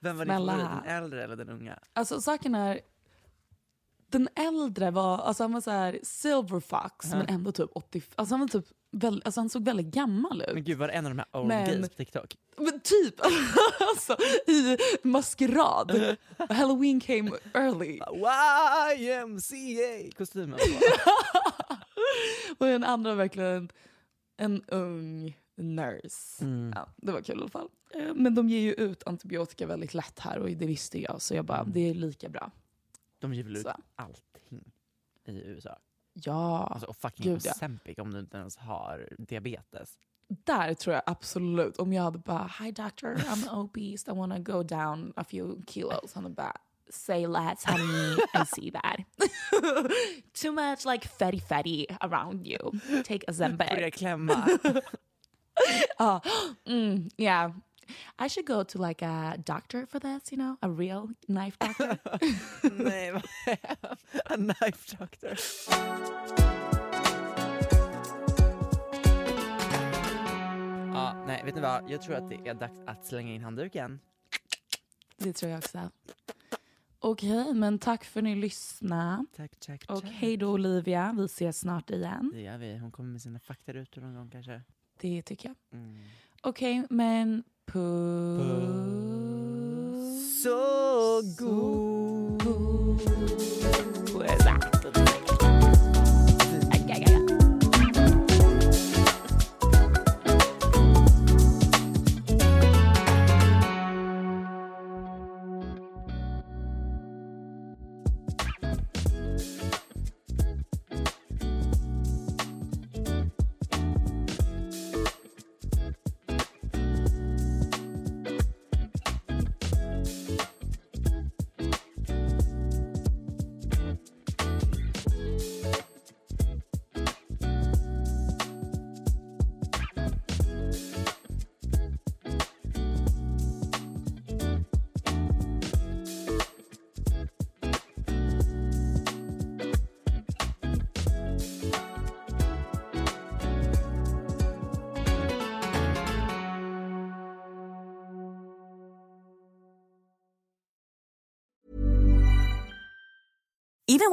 Speaker 1: Vem var
Speaker 3: Snälla.
Speaker 1: din favorit, den äldre eller den unga?
Speaker 3: Alltså saken är, den äldre var, alltså han var så här silver fox men ändå typ 80, alltså han, var typ väl, alltså han såg väldigt gammal
Speaker 1: Men
Speaker 3: ut.
Speaker 1: gud var det en av de här old
Speaker 3: Men-
Speaker 1: gays på TikTok?
Speaker 3: Men typ alltså, i maskerad. Halloween came early.
Speaker 1: YMCA! Kostymen
Speaker 3: Och den andra var verkligen en ung nurse. Ja, det var kul i alla fall. Eh, Men de ger ju ut antibiotika väldigt lätt här och det visste jag så jag bara, det är lika bra.
Speaker 1: De ger väl ut
Speaker 3: Så.
Speaker 1: allting i USA?
Speaker 3: Ja,
Speaker 1: Alltså, och fucking
Speaker 3: Gud, ja.
Speaker 1: Ozempic om du inte ens har diabetes.
Speaker 3: där tror jag absolut. Om jag hade bara, hi doctor, I'm obese, I wanna go down a few kilos. Han hade bara, say less honey, I see that. Too much like fatty fatty around you. Take a Zembeck.
Speaker 1: Börjar klämma.
Speaker 3: Ja. Uh, Mm, yeah. I should go to like a doctor for this, you know, a real knife doctor.
Speaker 1: Nej, vad Mm. A knife doctor. Ja, nej, vet ni vad? Jag tror att det är dags att slänga in handduken.
Speaker 3: Det tror jag också. Okej, men tack för att ni lyssnade.
Speaker 1: Tack, tack, tack.
Speaker 3: Och hej då Olivia, vi ses snart igen.
Speaker 1: Det gör vi. Hon kommer med sina faktarutor någon gång kanske.
Speaker 3: Det tycker jag.
Speaker 1: Mm.
Speaker 3: Okej, men puss.
Speaker 1: Så god!
Speaker 4: even